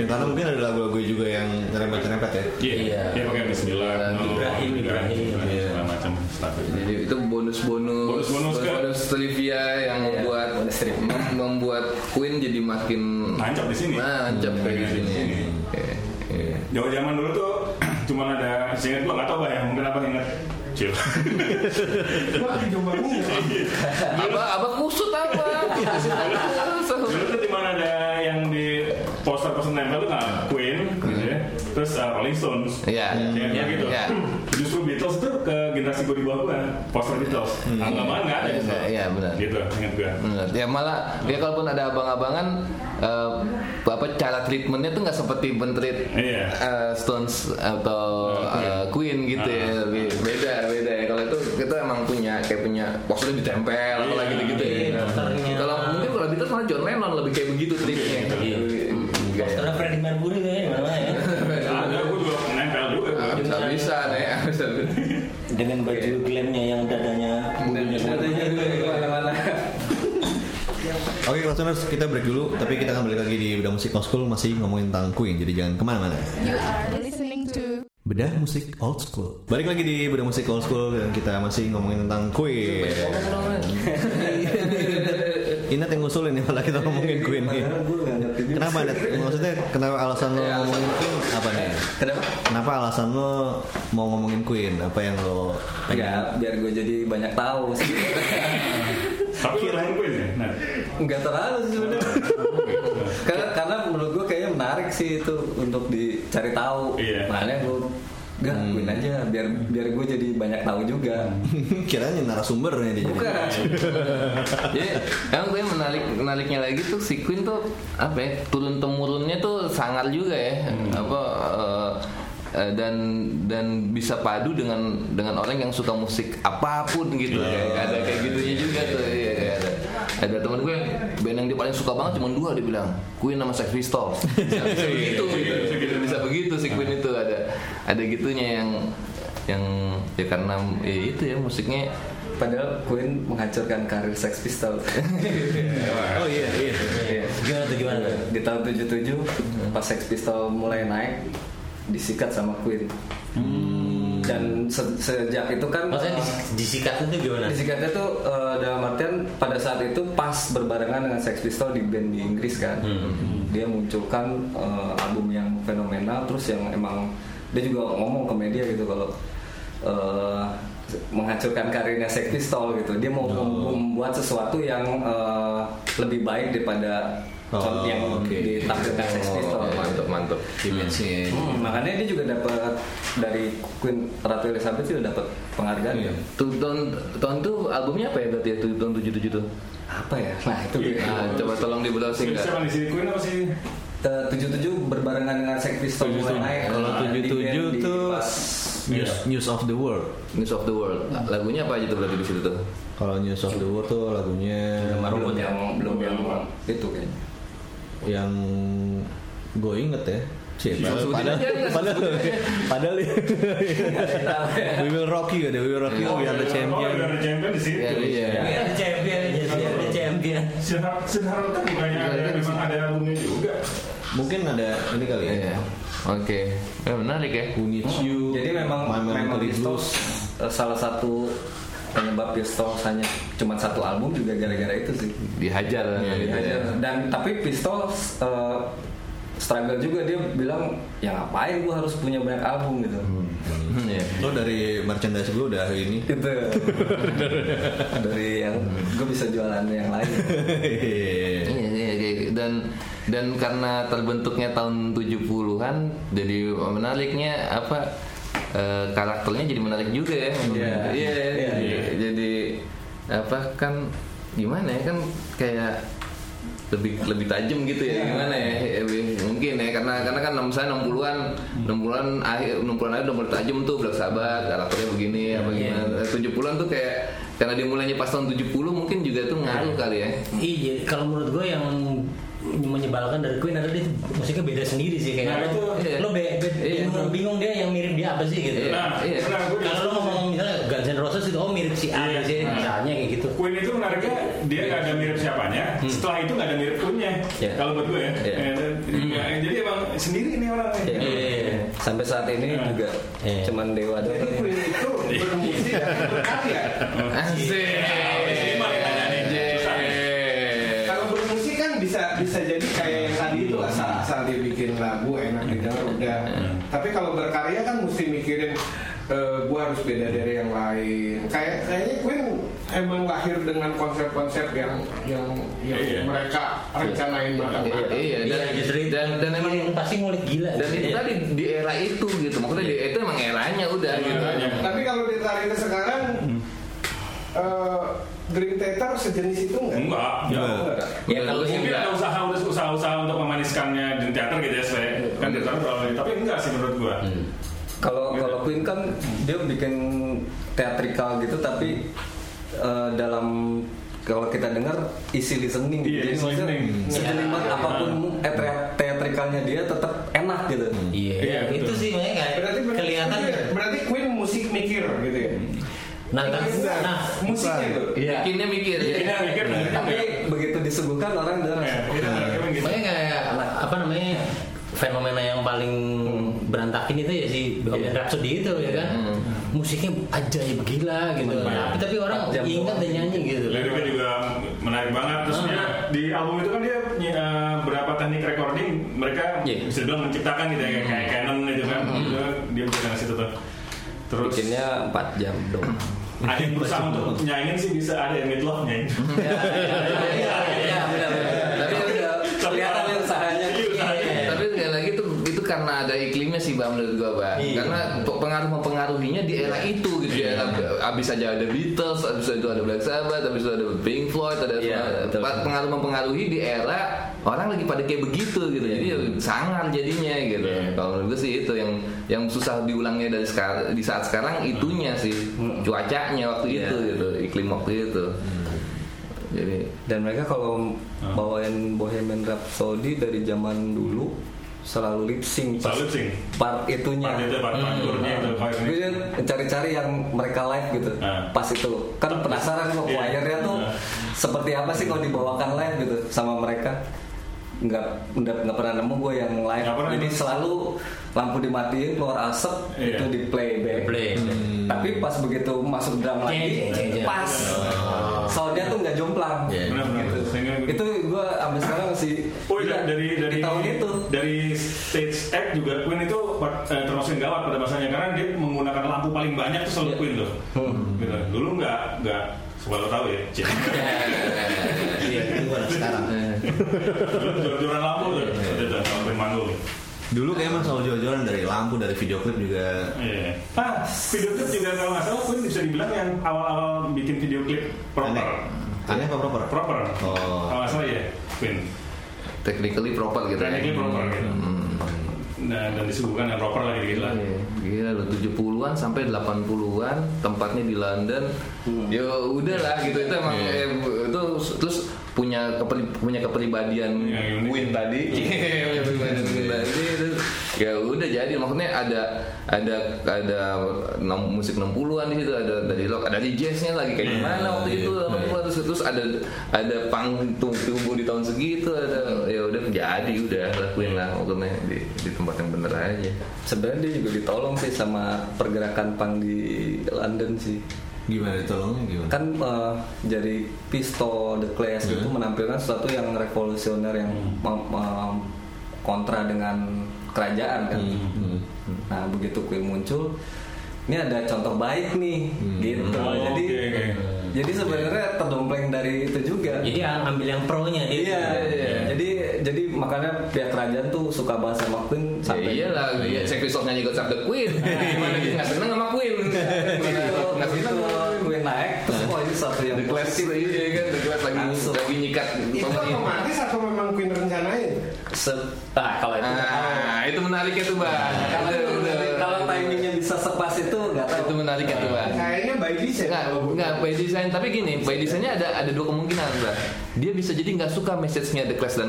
[SPEAKER 3] Ya, karena mungkin ada lagu-lagu juga yang nyerempet-nyerempet ya.
[SPEAKER 4] Iya,
[SPEAKER 6] Iya.
[SPEAKER 4] iya, pakai Bismillah,
[SPEAKER 5] Dan
[SPEAKER 4] no,
[SPEAKER 6] Ibrahim, Ibrahim,
[SPEAKER 4] Ibrahim, segala macam stuff.
[SPEAKER 5] iya. Jadi itu bonus-bonus Iya,
[SPEAKER 4] Bonus-bonus ke-
[SPEAKER 5] bonus trivia yang membuat mem- membuat Queen jadi makin
[SPEAKER 4] Nancap di sini.
[SPEAKER 5] nancap Nah, kayak di
[SPEAKER 4] Nancap di
[SPEAKER 5] sini.
[SPEAKER 4] sini.
[SPEAKER 5] Oke, iya.
[SPEAKER 4] Jauh zaman dulu tuh cuman ada singkat gua nggak tahu bah ya mungkin apa ingat. Cil.
[SPEAKER 5] Apa apa kusut apa?
[SPEAKER 4] Dulu tuh di mana ada yang di poster-poster nempel tuh nah, Queen, gitu ya. Terus uh, Rolling Stones.
[SPEAKER 5] Iya.
[SPEAKER 4] Kayak
[SPEAKER 5] Iya.
[SPEAKER 4] gitu.
[SPEAKER 5] Iya.
[SPEAKER 4] Justru Beatles tuh ke generasi gue di bawah gue, poster Beatles. Agak banget nggak ada gitu.
[SPEAKER 5] Hmm. Iya, benar.
[SPEAKER 4] Gitu, ingat gue.
[SPEAKER 5] Bener. Ya malah ya kalaupun ada abang-abangan eh, apa cara treatmentnya tuh nggak seperti mentreat
[SPEAKER 4] Iya.
[SPEAKER 5] eh, Stones atau
[SPEAKER 6] Nah,
[SPEAKER 5] eh, Queen gitu ya
[SPEAKER 6] Ah.
[SPEAKER 5] lebih beda beda ya kalau itu kita emang punya kayak punya posternya ditempel atau
[SPEAKER 4] Iya.
[SPEAKER 5] gitu-gitu
[SPEAKER 6] Iya,
[SPEAKER 5] ya.
[SPEAKER 6] posternya.
[SPEAKER 5] Kalau mungkin kalau Beatles malah John Lennon lebih kayak begitu treatnya.
[SPEAKER 6] Iya. Karena Freddy Mercury kayaknya di mana-mana ya.
[SPEAKER 4] Nah,
[SPEAKER 5] iya.
[SPEAKER 4] ada gue juga nempel juga. gua.
[SPEAKER 5] Bisa bisa nih, bisa.
[SPEAKER 6] Dengan baju glamnya yang dadanya. bulunya
[SPEAKER 7] Katanya
[SPEAKER 6] keluar.
[SPEAKER 7] juga di mana-mana.
[SPEAKER 3] Oke, listeners, kita break dulu. Tapi kita akan balik lagi di Bedah Musik Old School masih ngomongin tentang Queen. Jadi jangan kemana-mana.
[SPEAKER 1] You are listening to
[SPEAKER 3] Bedah Musik Old School. Balik lagi di Bedah Musik Old School dan kita masih ngomongin tentang Queen. Inat yang ngusulin nih malah kita ngomongin Queen nih. iya. Kenapa Nat? Maksudnya kenapa alasan lo ngomongin Queen apa nih?
[SPEAKER 7] Kenapa?
[SPEAKER 3] Kenapa alasan lo mau ngomongin Queen? Apa yang lo
[SPEAKER 7] Ya, biar gue jadi banyak tahu sih.
[SPEAKER 4] Tapi lu nonton Queen ya? Nah,
[SPEAKER 7] Enggak terlalu sih sebenarnya. karena karena menurut gue kayaknya menarik sih itu untuk dicari tahu.
[SPEAKER 4] Iya.
[SPEAKER 7] Makanya gue Gak, Queen aja biar biar gue jadi banyak tahu juga.
[SPEAKER 3] Hmm. kiranya narasumbernya dia jadi.
[SPEAKER 7] Bukan.
[SPEAKER 5] Jadi emang gue menarik menariknya lagi tuh si Queen tuh apa ya turun temurunnya tuh sangar juga ya apa eh, eh, dan dan bisa padu dengan dengan orang yang suka musik apapun gitu kayak ada kayak gitunya juga tuh iya kayak ada ada teman gue band yang dia paling suka banget cuma dua dia bilang Queen sama Sex Pistols bisa, bisa begitu gitu. bisa begitu si Queen itu ada ada gitunya yang yang ya karena ya itu ya musiknya
[SPEAKER 7] Padahal Queen menghancurkan karir Sex Pistols.
[SPEAKER 3] Oh iya iya.
[SPEAKER 6] Gimana tuh gimana tuh?
[SPEAKER 7] di tahun 77 pas Sex Pistols mulai naik disikat sama Queen. Dan se- sejak itu kan
[SPEAKER 6] Maksudnya
[SPEAKER 7] uh,
[SPEAKER 6] dis- disikat itu gimana?
[SPEAKER 7] Disikatnya tuh eh, dalam artian pada saat itu pas berbarengan dengan Sex Pistols di band di Inggris kan.
[SPEAKER 3] Hmm.
[SPEAKER 7] Dia munculkan eh, album yang fenomenal terus yang emang dia juga ngomong ke media gitu kalau eh, menghancurkan karirnya Sex Pistols gitu. Dia
[SPEAKER 3] Oh.
[SPEAKER 7] mau mem- membuat sesuatu yang eh, lebih baik daripada
[SPEAKER 3] Oh,
[SPEAKER 7] contoh yang
[SPEAKER 3] oke. Oh,
[SPEAKER 7] ditampilkan Sex Pistols.
[SPEAKER 5] mantap mantap
[SPEAKER 3] Image-nya.
[SPEAKER 7] Hmm, makanya dia juga dapat dari Queen Ratu Elizabeth juga dapat penghargaan
[SPEAKER 3] Iya.
[SPEAKER 7] ya.
[SPEAKER 5] tuh tahun tahun Hmm. tuh albumnya apa ya berarti ya, tuh tahun tujuh tujuh tuh
[SPEAKER 7] Apa ya? Nah itu gue-
[SPEAKER 3] Iya.
[SPEAKER 5] nah, coba tolong di browsing nggak?
[SPEAKER 4] Siapa di sini Queen apa sih?
[SPEAKER 7] tujuh tujuh berbarengan dengan Sex Pistols mulai naik.
[SPEAKER 3] Kalau
[SPEAKER 7] Nah,
[SPEAKER 3] tujuh tujuh
[SPEAKER 7] di band, di
[SPEAKER 3] tuh
[SPEAKER 7] pas.
[SPEAKER 3] news news of the world.
[SPEAKER 5] News of the World Nah, lagunya apa aja tuh berarti di situ tuh
[SPEAKER 3] Kalau news of the world tuh lagunya
[SPEAKER 7] belum yang belum yang ya. itu kayaknya.
[SPEAKER 3] yang gue inget ya. Cie, padahal, padahal, padahal, padahal, Iya. we will rock you, we will rock you, we are the
[SPEAKER 4] Oh,
[SPEAKER 3] champion.
[SPEAKER 4] ada champion di situ.
[SPEAKER 5] ya iya
[SPEAKER 6] Ini ada champion, ada champion.
[SPEAKER 4] Sinar Sinar kan bukannya ada memang ada albumnya juga.
[SPEAKER 3] Mungkin ada ini kali ya.
[SPEAKER 5] Iya. oke ya, menarik ya
[SPEAKER 3] Who needs you?
[SPEAKER 7] Jadi memang
[SPEAKER 3] My
[SPEAKER 7] memang
[SPEAKER 3] Melancholy
[SPEAKER 7] Pistols
[SPEAKER 3] Blues.
[SPEAKER 7] eh, salah satu penyebab Pistols hanya cuma satu album juga gara-gara itu sih.
[SPEAKER 5] dihajar
[SPEAKER 7] Iya,
[SPEAKER 5] gitu ya.
[SPEAKER 7] Dan tapi Pistols eh, struggle juga dia bilang ya ngapain gua harus punya banyak album gitu.
[SPEAKER 5] Hmm, iya.
[SPEAKER 3] Lo dari merchandise gue udah ini.
[SPEAKER 7] Gitu. dari yang gue bisa jualan yang lain.
[SPEAKER 5] Iya, iya, iya. dan dan karena terbentuknya tahun 70-an jadi menariknya apa eh, karakternya jadi menarik juga ya. Iya.
[SPEAKER 7] Iya,
[SPEAKER 5] jadi, jadi apa kan gimana ya kan kayak lebih lebih tajam gitu ya gimana ya lebih- mungkin ya karena karena kan misalnya 60-an 60-an akhir 60-an akhir udah mulai tajam tuh Black Sabbath karakternya begini apa gimana 70-an tuh kayak karena dia mulainya pas tahun 70 mungkin juga tuh ngaruh kali ya
[SPEAKER 6] Iya, kalau menurut gue yang menyebalkan dari Queen adalah dia tuh musiknya beda sendiri sih
[SPEAKER 4] Nah,
[SPEAKER 6] kayak lo,
[SPEAKER 5] itu.
[SPEAKER 6] lo be- be-
[SPEAKER 5] Iya.
[SPEAKER 6] bingung, bingung dia yang mirip dia apa sih gitu.
[SPEAKER 5] Iya.
[SPEAKER 4] Nah,
[SPEAKER 5] Iya.
[SPEAKER 4] nah, gue
[SPEAKER 6] Kalau lo ngomong misalnya Guns N' Roses itu oh mirip si A
[SPEAKER 4] Iya.
[SPEAKER 6] sih, misalnya kayak gitu.
[SPEAKER 4] Queen itu menariknya dia nggak ada mirip siapanya. Setelah itu nggak ada mirip Queennya.
[SPEAKER 7] Iya.
[SPEAKER 4] Kalau buat gue ya.
[SPEAKER 7] Iya.
[SPEAKER 4] Ya, dan- ya, Jadi emang sendiri ini orangnya.
[SPEAKER 7] Iya.
[SPEAKER 6] Iya.
[SPEAKER 7] Sampai saat ini
[SPEAKER 4] Iya.
[SPEAKER 7] juga
[SPEAKER 6] Iya.
[SPEAKER 7] cuman Dewa doang.
[SPEAKER 2] Jadi Queen itu bermusik dan berkarya.
[SPEAKER 5] Asik.
[SPEAKER 4] Ini mah yang tanya nih. Susah nih.
[SPEAKER 2] Kalau bermusik kan bisa bisa jadi kayak yang tadi itu asal-asal dia bikin lagu enak didengar udah. Tapi kalau berkarya kan mesti mikirin eh, gua harus beda dari yang lain. Kayak kayaknya Queen emang lahir dengan konsep-konsep yang yang yang
[SPEAKER 4] Iya.
[SPEAKER 2] mereka rencanain banget.
[SPEAKER 5] Iya, dan,
[SPEAKER 6] Iya, justru itu.
[SPEAKER 5] dan dan emang
[SPEAKER 6] Iya, pasti ngulik gila.
[SPEAKER 5] dan itu
[SPEAKER 6] Iya.
[SPEAKER 5] tadi di era itu gitu. Maksudnya di, itu emang eranya udah gitu.
[SPEAKER 4] eranya.
[SPEAKER 2] Tapi kalau ditarik ke sekarang eh, Dream Theater sejenis itu enggak?
[SPEAKER 4] Enggak. jauh.
[SPEAKER 2] Enggak.
[SPEAKER 5] Ya,
[SPEAKER 6] Ya, kalau
[SPEAKER 5] kalau
[SPEAKER 6] sih
[SPEAKER 4] Mungkin
[SPEAKER 5] enggak.
[SPEAKER 4] ada usaha usaha usaha untuk memaniskannya di teater gitu ya, supaya kan teater terlalu tapi enggak sih menurut gua.
[SPEAKER 7] Kalau kalau Queen kan dia bikin teatrikal gitu tapi eh, dalam kalau kita dengar isi listening gitu.
[SPEAKER 4] Iya,
[SPEAKER 7] Jadi
[SPEAKER 4] isi
[SPEAKER 7] maksudnya
[SPEAKER 4] listening. Iya.
[SPEAKER 7] sekelimat apapun eh, tea- teatrikalnya dia tetap enak gitu.
[SPEAKER 6] Iya,
[SPEAKER 4] Iya,
[SPEAKER 6] itu
[SPEAKER 4] betul.
[SPEAKER 6] sih makanya kayak
[SPEAKER 2] Berarti berarti
[SPEAKER 6] kelihatan.
[SPEAKER 2] Queen,
[SPEAKER 4] ya.
[SPEAKER 2] berarti Queen musik mikir gitu ya.
[SPEAKER 6] Nah, tapi
[SPEAKER 2] Enggak.
[SPEAKER 6] nah,
[SPEAKER 2] musiknya tuh.
[SPEAKER 5] Iya. Bikinnya mikir. ya.
[SPEAKER 4] Ini yang mikir
[SPEAKER 7] Nah, Tapi begitu disuguhkan orang dengar
[SPEAKER 4] Ya, kita emang gitu.
[SPEAKER 6] makanya kayak apa namanya fenomena yang paling berantakin itu ya si Bohemian Rhapsody itu ya kan. Musiknya ajaib gila gitu. Tapi tapi orang
[SPEAKER 7] Jam
[SPEAKER 6] ingat dan nyanyi gitu.
[SPEAKER 7] Iya, kan?
[SPEAKER 4] Liriknya juga menarik banget. Terus
[SPEAKER 7] Ah.
[SPEAKER 4] dia di album itu kan dia eh, berapa teknik recording mereka
[SPEAKER 6] Iya.
[SPEAKER 4] bisa bilang menciptakan gitu ya, kayak,
[SPEAKER 7] Hmm.
[SPEAKER 4] kayak Canon gitu kan. Dia- Dia bisa ngasih situ tuh. Terus
[SPEAKER 7] bikinnya 4 jam dong.
[SPEAKER 4] ada yang berusaha untuk nyaingin sih bisa ada yang midlove nyaingin.
[SPEAKER 7] Iya, benar.
[SPEAKER 5] Tapi
[SPEAKER 7] Tapi kan udah kelihatan
[SPEAKER 4] Tapi-
[SPEAKER 7] usahanya.
[SPEAKER 4] Iya, usahanya.
[SPEAKER 5] Tapi Eh, sekali lagi itu itu karena ada iklimnya sih bang menurut gua bang.
[SPEAKER 6] Iya.
[SPEAKER 5] Karena pe- pengaruh mempengaruhinya di era itu gitu ya. Abis aja ada Beatles, abis itu ada Black Sabbath, abis itu ada Pink Floyd, ada
[SPEAKER 7] Iya,
[SPEAKER 5] semua-
[SPEAKER 7] betul.
[SPEAKER 5] pa- pengaruh mempengaruhi di era orang lagi pada kayak begitu gitu. Jadi ya sangar jadinya gitu. Kalau menurut gua sih itu yang yang susah diulangnya dari sekarang di saat sekarang itunya sih cuacanya waktu
[SPEAKER 7] Iya.
[SPEAKER 5] itu gitu, iklim waktu itu. Jadi
[SPEAKER 7] Dan mereka kalau
[SPEAKER 4] Ah.
[SPEAKER 7] bawain Bohemian Rhapsody dari zaman dulu selalu lip sync pas
[SPEAKER 4] Selalu lip sync.
[SPEAKER 7] part itunya.
[SPEAKER 4] Part itu, part- part
[SPEAKER 7] Hmm.
[SPEAKER 4] chordnya itu, part ini.
[SPEAKER 7] Gue cari-cari yang mereka live gitu.
[SPEAKER 4] Ah.
[SPEAKER 7] Pas itu kan penasaran kok
[SPEAKER 4] Iya.
[SPEAKER 7] choirnya tuh
[SPEAKER 4] Ah.
[SPEAKER 7] seperti apa sih kalau dibawakan live gitu sama mereka nggak nggak nggak pernah nemu gue yang live
[SPEAKER 4] Nggak pernah
[SPEAKER 7] jadi
[SPEAKER 4] nemu.
[SPEAKER 7] selalu lampu dimatiin keluar asap
[SPEAKER 4] Iya.
[SPEAKER 7] itu di playback
[SPEAKER 6] Play.
[SPEAKER 7] tapi pas begitu masuk drum lagi
[SPEAKER 6] Jeng, jeng, jeng.
[SPEAKER 7] pas soundnya tuh nggak jomplang
[SPEAKER 6] Oh. Iya.
[SPEAKER 4] Benar-benar. Sehingga gue-
[SPEAKER 7] Gitu. itu gue sampai sekarang masih
[SPEAKER 4] gitu. Oh
[SPEAKER 7] gila,
[SPEAKER 4] iya, dari dari
[SPEAKER 7] di tahun itu
[SPEAKER 4] dari stage act juga Queen itu eh, termasuk yang gawat pada masanya karena dia menggunakan lampu paling banyak tuh
[SPEAKER 7] Iya.
[SPEAKER 4] selalu Queen loh.
[SPEAKER 7] Hmm.
[SPEAKER 4] Gitu. Dulu nggak nggak supaya lo tahu ya. Cik.
[SPEAKER 6] Iya, gimana sekarang?
[SPEAKER 4] Dulu jor-joran lampu tuh. Udah udah kalau Queen manggung.
[SPEAKER 3] Dulu kayak emang selalu jor-joran dari lampu, dari video klip juga
[SPEAKER 4] Iya. Ah, video klip juga kalau nggak salah Queen bisa dibilang yang awal-awal bikin video klip
[SPEAKER 3] aneh.
[SPEAKER 4] proper.
[SPEAKER 3] Aneh apa proper?
[SPEAKER 4] Proper.
[SPEAKER 3] Oh.
[SPEAKER 4] Kalau nggak salah ya Queen.
[SPEAKER 5] technically proper gitu. ya.
[SPEAKER 4] Technically proper gitu. Nah, dan disuguhkan yang proper lagi gitu lah.
[SPEAKER 5] Iya, Gila loh 70-an sampai 80-an tempatnya di London.
[SPEAKER 4] Hmm.
[SPEAKER 5] Ya udahlah gitu itu emang
[SPEAKER 4] Iya.
[SPEAKER 5] eh, itu terus punya keperi- punya kepribadian
[SPEAKER 4] Iya, Yang unik. Iya.
[SPEAKER 5] Queen tadi. Iya, Punya kepribadian Queen tadi terus ya udah jadi maksudnya ada ada ada nom- musik 60-an di situ ada dari rock, ada di jazznya lagi kayak
[SPEAKER 4] Iya.
[SPEAKER 5] gimana waktu itu terus terus ada ada pang tumbuh di tahun segitu ada ya udah jadi udah lakuin lah maksudnya di, di tempat yang bener aja.
[SPEAKER 7] sebenarnya dia juga ditolong sih sama pergerakan pang di London sih
[SPEAKER 3] Gimana ditolongnya gimana?
[SPEAKER 7] kan eh, jadi pistol The Clash itu menampilkan sesuatu yang revolusioner yang mem- mem- kontra dengan kerajaan kan nah begitu Queen muncul ini ada contoh baik nih gitu
[SPEAKER 4] Oh,
[SPEAKER 7] jadi
[SPEAKER 4] oke, oke.
[SPEAKER 7] jadi sebenarnya terdompleng dari itu juga
[SPEAKER 6] Jadi ambil yang pro-nya dia.
[SPEAKER 7] Iya, jadi jadi makanya pihak kerajaan tuh suka bahas sama
[SPEAKER 5] Ya
[SPEAKER 7] Queen sampai
[SPEAKER 5] iyalah, iya Jack Christoph nyanyi God Save the Queen. Gimana dia nggak seneng sama Queen?
[SPEAKER 7] Begitu-
[SPEAKER 5] Iya, Nggak
[SPEAKER 7] begitu
[SPEAKER 5] seneng.
[SPEAKER 7] Queen naik terus oh ini satu yang
[SPEAKER 5] The Clash
[SPEAKER 7] positif.
[SPEAKER 5] iya kan, The Clash lagi
[SPEAKER 7] Langsung.
[SPEAKER 5] lagi nyikat
[SPEAKER 2] Itu
[SPEAKER 5] pemerintah.
[SPEAKER 2] otomatis atau memang Queen rencanain?
[SPEAKER 7] Se-
[SPEAKER 6] Nah, kalau itu
[SPEAKER 5] Nah, itu menariknya tuh bang.
[SPEAKER 7] kalau
[SPEAKER 5] Itu- itu-
[SPEAKER 7] kalau timingnya bisa sepas itu nggak tahu
[SPEAKER 5] Iya, Itu menariknya tuh bang.
[SPEAKER 2] Kayaknya by design.
[SPEAKER 5] Enggak,
[SPEAKER 2] kalau gue.
[SPEAKER 5] enggak by design. Tapi gini, by design-nya ada ada dua kemungkinan, Bang. Dia bisa jadi nggak suka message-nya The Clash dan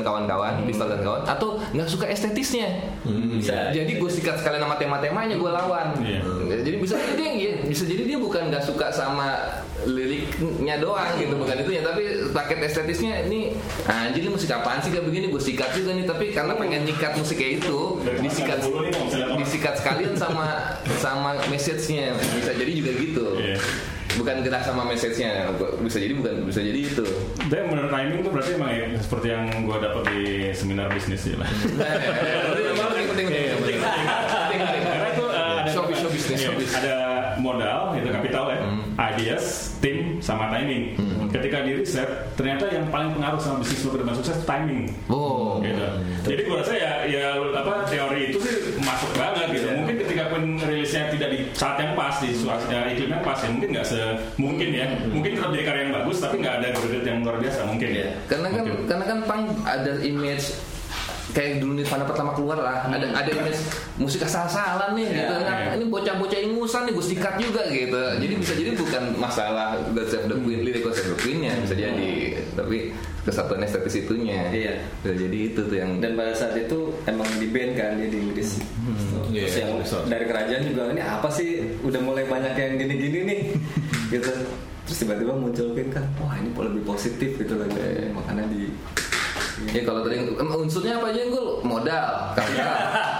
[SPEAKER 4] Hmm.
[SPEAKER 5] kawan-kawan, Pistol dan kawan, atau nggak suka estetisnya.
[SPEAKER 6] bisa.
[SPEAKER 5] Jadi gue sikat sekalian sama tema-temanya gue lawan.
[SPEAKER 4] Iya.
[SPEAKER 5] Ya, Jadi bisa jadi dia ya, bisa jadi dia bukan nggak suka sama liriknya doang gitu
[SPEAKER 4] Hmm.
[SPEAKER 5] bukan itu ya tapi paket estetisnya ini anjir ini musik apaan sih kayak begini gue sikat juga nih tapi karena pengen nyikat musik kayak itu
[SPEAKER 4] Dari
[SPEAKER 5] disikat
[SPEAKER 4] masa dulu nih, nggak bisa lihat orang.
[SPEAKER 5] disikat sekalian sama sama message-nya bisa jadi juga gitu.
[SPEAKER 4] Iya.
[SPEAKER 5] Bukan gerak sama message-nya bisa jadi bukan bisa jadi itu.
[SPEAKER 4] Dan menurut timing tuh berarti emang ya, seperti yang gue dapat di seminar bisnis sih lah. Iya,
[SPEAKER 5] Nah, itu emang penting penting penting. Penting, penting.
[SPEAKER 4] Karena itu eh, ada
[SPEAKER 5] Showbiz, showbiz, Hmm.
[SPEAKER 4] iya,
[SPEAKER 5] showbiz.
[SPEAKER 4] ada modal itu kapital ya, ideas, tim sama timing.
[SPEAKER 5] Hmm.
[SPEAKER 4] Ketika di riset ternyata yang paling pengaruh sama bisnis lo ke depan sukses timing.
[SPEAKER 5] Oh.
[SPEAKER 4] Gitu. Jadi gue rasa ya, ya apa teori itu sih masuk banget
[SPEAKER 5] Iya.
[SPEAKER 4] gitu. Mungkin ketika pun rilisnya tidak di saat yang pas di
[SPEAKER 5] Hmm.
[SPEAKER 4] suasana iklim yang pas ya mungkin nggak se mungkin ya. Mungkin tetap jadi karya yang bagus tapi nggak ada greget yang luar biasa mungkin ya.
[SPEAKER 5] karena kan
[SPEAKER 4] Mungkin.
[SPEAKER 5] karena kan pang ada image kayak dulu Nirvana pertama keluar lah ada ada image musik asal-asalan nih gitu
[SPEAKER 4] Hmm. Iya,
[SPEAKER 5] Nah,
[SPEAKER 4] iya.
[SPEAKER 5] ini bocah-bocah ingusan nih gue sikat juga gitu jadi bisa jadi bukan masalah God Save the Queen lirik God Save the Queen-nya bisa jadi
[SPEAKER 4] Hmm.
[SPEAKER 5] tapi kesatuan estetis itunya
[SPEAKER 7] Iya.
[SPEAKER 5] bisa jadi itu tuh yang
[SPEAKER 7] dan pada saat itu emang di band kan dia di Inggris
[SPEAKER 5] Hmm,
[SPEAKER 7] terus
[SPEAKER 3] Iya,
[SPEAKER 7] yang
[SPEAKER 3] betul.
[SPEAKER 7] dari kerajaan juga ini apa sih udah mulai banyak yang gini-gini nih gitu terus tiba-tiba muncul Queen kan wah ini lebih positif gitu loh
[SPEAKER 5] Iya,
[SPEAKER 7] makanya di
[SPEAKER 5] Ya kalau tadi em, unsurnya apa aja yang gue modal, kapital,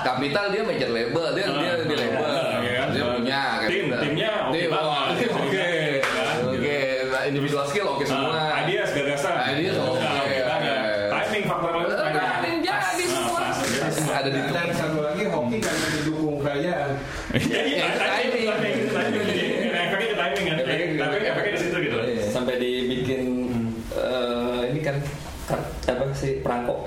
[SPEAKER 5] kapital dia major label, dia dia di label,
[SPEAKER 4] Iya.
[SPEAKER 5] dia punya
[SPEAKER 4] Tim,
[SPEAKER 5] kapital.
[SPEAKER 4] timnya oke
[SPEAKER 5] Tim,
[SPEAKER 4] banget.
[SPEAKER 5] oh, tim oke,
[SPEAKER 4] Iya.
[SPEAKER 5] oke, Nah, individual skill oke semua.
[SPEAKER 4] Ah, ideas gagasan.
[SPEAKER 5] Ideas,
[SPEAKER 4] Nah,
[SPEAKER 5] oke.
[SPEAKER 4] oke banget. Timing faktor lain.
[SPEAKER 5] Eh, timing jadi
[SPEAKER 4] Nah, Pas. Ah,
[SPEAKER 5] semua.
[SPEAKER 4] pas, jadi semua.
[SPEAKER 5] Ada di
[SPEAKER 2] Dan satu lagi hoki karena didukung kerajaan.
[SPEAKER 4] Iya, iya,
[SPEAKER 5] Eh,
[SPEAKER 4] timing,
[SPEAKER 5] timing.
[SPEAKER 4] timing, timing. Jadi, efeknya ke timing kan.
[SPEAKER 5] Efeknya ke-
[SPEAKER 4] Tapi efeknya di situ gitu.
[SPEAKER 7] Iya, sampai dibikin eh, ini kan kar- apa sih perangkok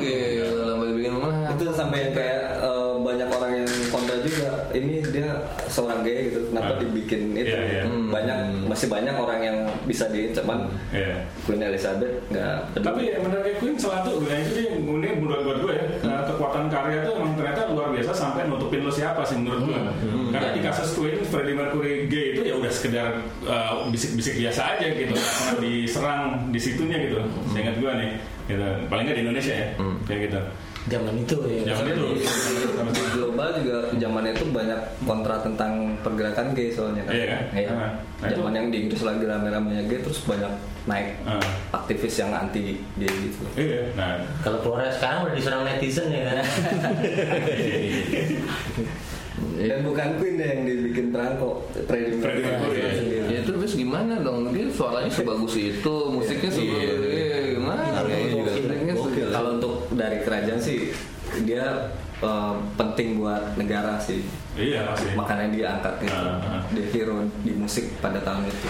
[SPEAKER 5] gitu lama dibikin menang
[SPEAKER 7] itu sampai yang kayak eh, banyak orang yang kontra juga ini dia seorang gay gitu kenapa
[SPEAKER 4] Ah.
[SPEAKER 7] dibikin itu
[SPEAKER 4] Iya, iya.
[SPEAKER 7] Hmm. banyak masih banyak orang yang bisa diincapan
[SPEAKER 4] Iya.
[SPEAKER 7] Queen Elizabeth nggak peduli
[SPEAKER 4] Tapi ya menariknya Queen salah satu nah itu dia yang unik menurut buat gue ya. Nah, kekuatan karya itu emang ternyata luar biasa sampai nutupin lo siapa sih menurut gue. Karena di kasus Queen Freddie Mercury gay itu ya udah sekedar uh, bisik-bisik biasa aja gitu. Karena diserang di situnya gitu. Seingat gue nih. Gitu. Paling nggak di Indonesia ya. Kayak gitu.
[SPEAKER 6] zaman itu ya
[SPEAKER 4] Zaman itu.
[SPEAKER 7] di Iya, global juga zaman itu banyak kontra tentang pergerakan gay soalnya kan
[SPEAKER 4] Iya kan?
[SPEAKER 7] Iya.
[SPEAKER 4] Nah, nah itu-
[SPEAKER 7] zaman yang di Inggris lagi rame-ramenya gay terus banyak naik
[SPEAKER 4] Ah.
[SPEAKER 7] aktivis yang anti gay gitu
[SPEAKER 4] Iya. Nah,
[SPEAKER 6] kalau keluarnya sekarang udah diserang netizen ya kan
[SPEAKER 7] dan bukan Queen deh yang dibikin terang kok Freddie
[SPEAKER 4] Freddie Mercury,
[SPEAKER 7] Mercury
[SPEAKER 4] iya.
[SPEAKER 7] sendiri.
[SPEAKER 5] ya terus gimana dong dia suaranya sebagus itu musiknya
[SPEAKER 4] Iya.
[SPEAKER 5] sebagus iya, gimana
[SPEAKER 3] Harganya juga.
[SPEAKER 5] Musiknya
[SPEAKER 7] Gokil.
[SPEAKER 5] sebagus-
[SPEAKER 7] Kalau untuk dari kerajaan sih dia eh, penting buat negara sih.
[SPEAKER 4] iya pasti.
[SPEAKER 7] Makanya dia angkat gitu.
[SPEAKER 4] Ah, ah.
[SPEAKER 7] Dia hero di musik pada tahun itu.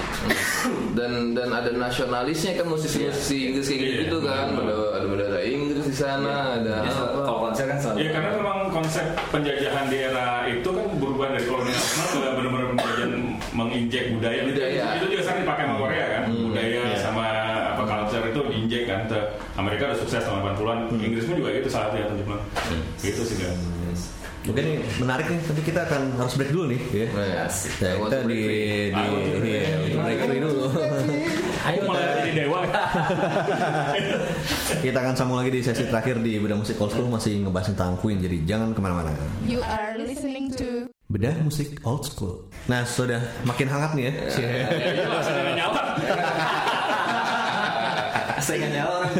[SPEAKER 5] dan dan ada nasionalisnya kan musisi-musisi Inggris kayak
[SPEAKER 4] Iya.
[SPEAKER 5] gitu kan ada ada bendera Inggris di sana ada
[SPEAKER 7] Jadi,
[SPEAKER 5] apa
[SPEAKER 7] kalau konser kan selalu.
[SPEAKER 4] Ya karena memang konsep penjajahan di era itu kan berubah dari kolonialisme ke benar-benar penjajahan menginjek budaya.
[SPEAKER 5] Budaya.
[SPEAKER 4] Itu, itu juga sering dipakai sama Korea kan, budaya
[SPEAKER 3] iya.
[SPEAKER 4] sama apa culture itu diinjek kan. Ke Amerika udah sukses tahun 80-an, Inggris pun juga gitu salah satu ya teman Gitu sih kan.
[SPEAKER 3] Mungkin ini menarik nih, tapi kita akan harus break dulu nih. Ya.
[SPEAKER 5] Nah, ya.
[SPEAKER 3] Ya, kita
[SPEAKER 5] Waktu
[SPEAKER 3] di
[SPEAKER 5] break free.
[SPEAKER 3] di
[SPEAKER 4] Ah, waktu break.
[SPEAKER 3] iya, break free dulu.
[SPEAKER 6] ayo
[SPEAKER 4] Mulai
[SPEAKER 6] kita-
[SPEAKER 4] jadi dewa.
[SPEAKER 3] kita akan sambung lagi di sesi terakhir di Bedah Musik Old School masih ngebahas tentang Queen, jadi jangan kemana-mana.
[SPEAKER 1] You are listening to
[SPEAKER 3] Bedah Musik Old School. Nah, sudah makin hangat nih ya.
[SPEAKER 4] Itu masih ada nyawa.
[SPEAKER 7] Saingannya orang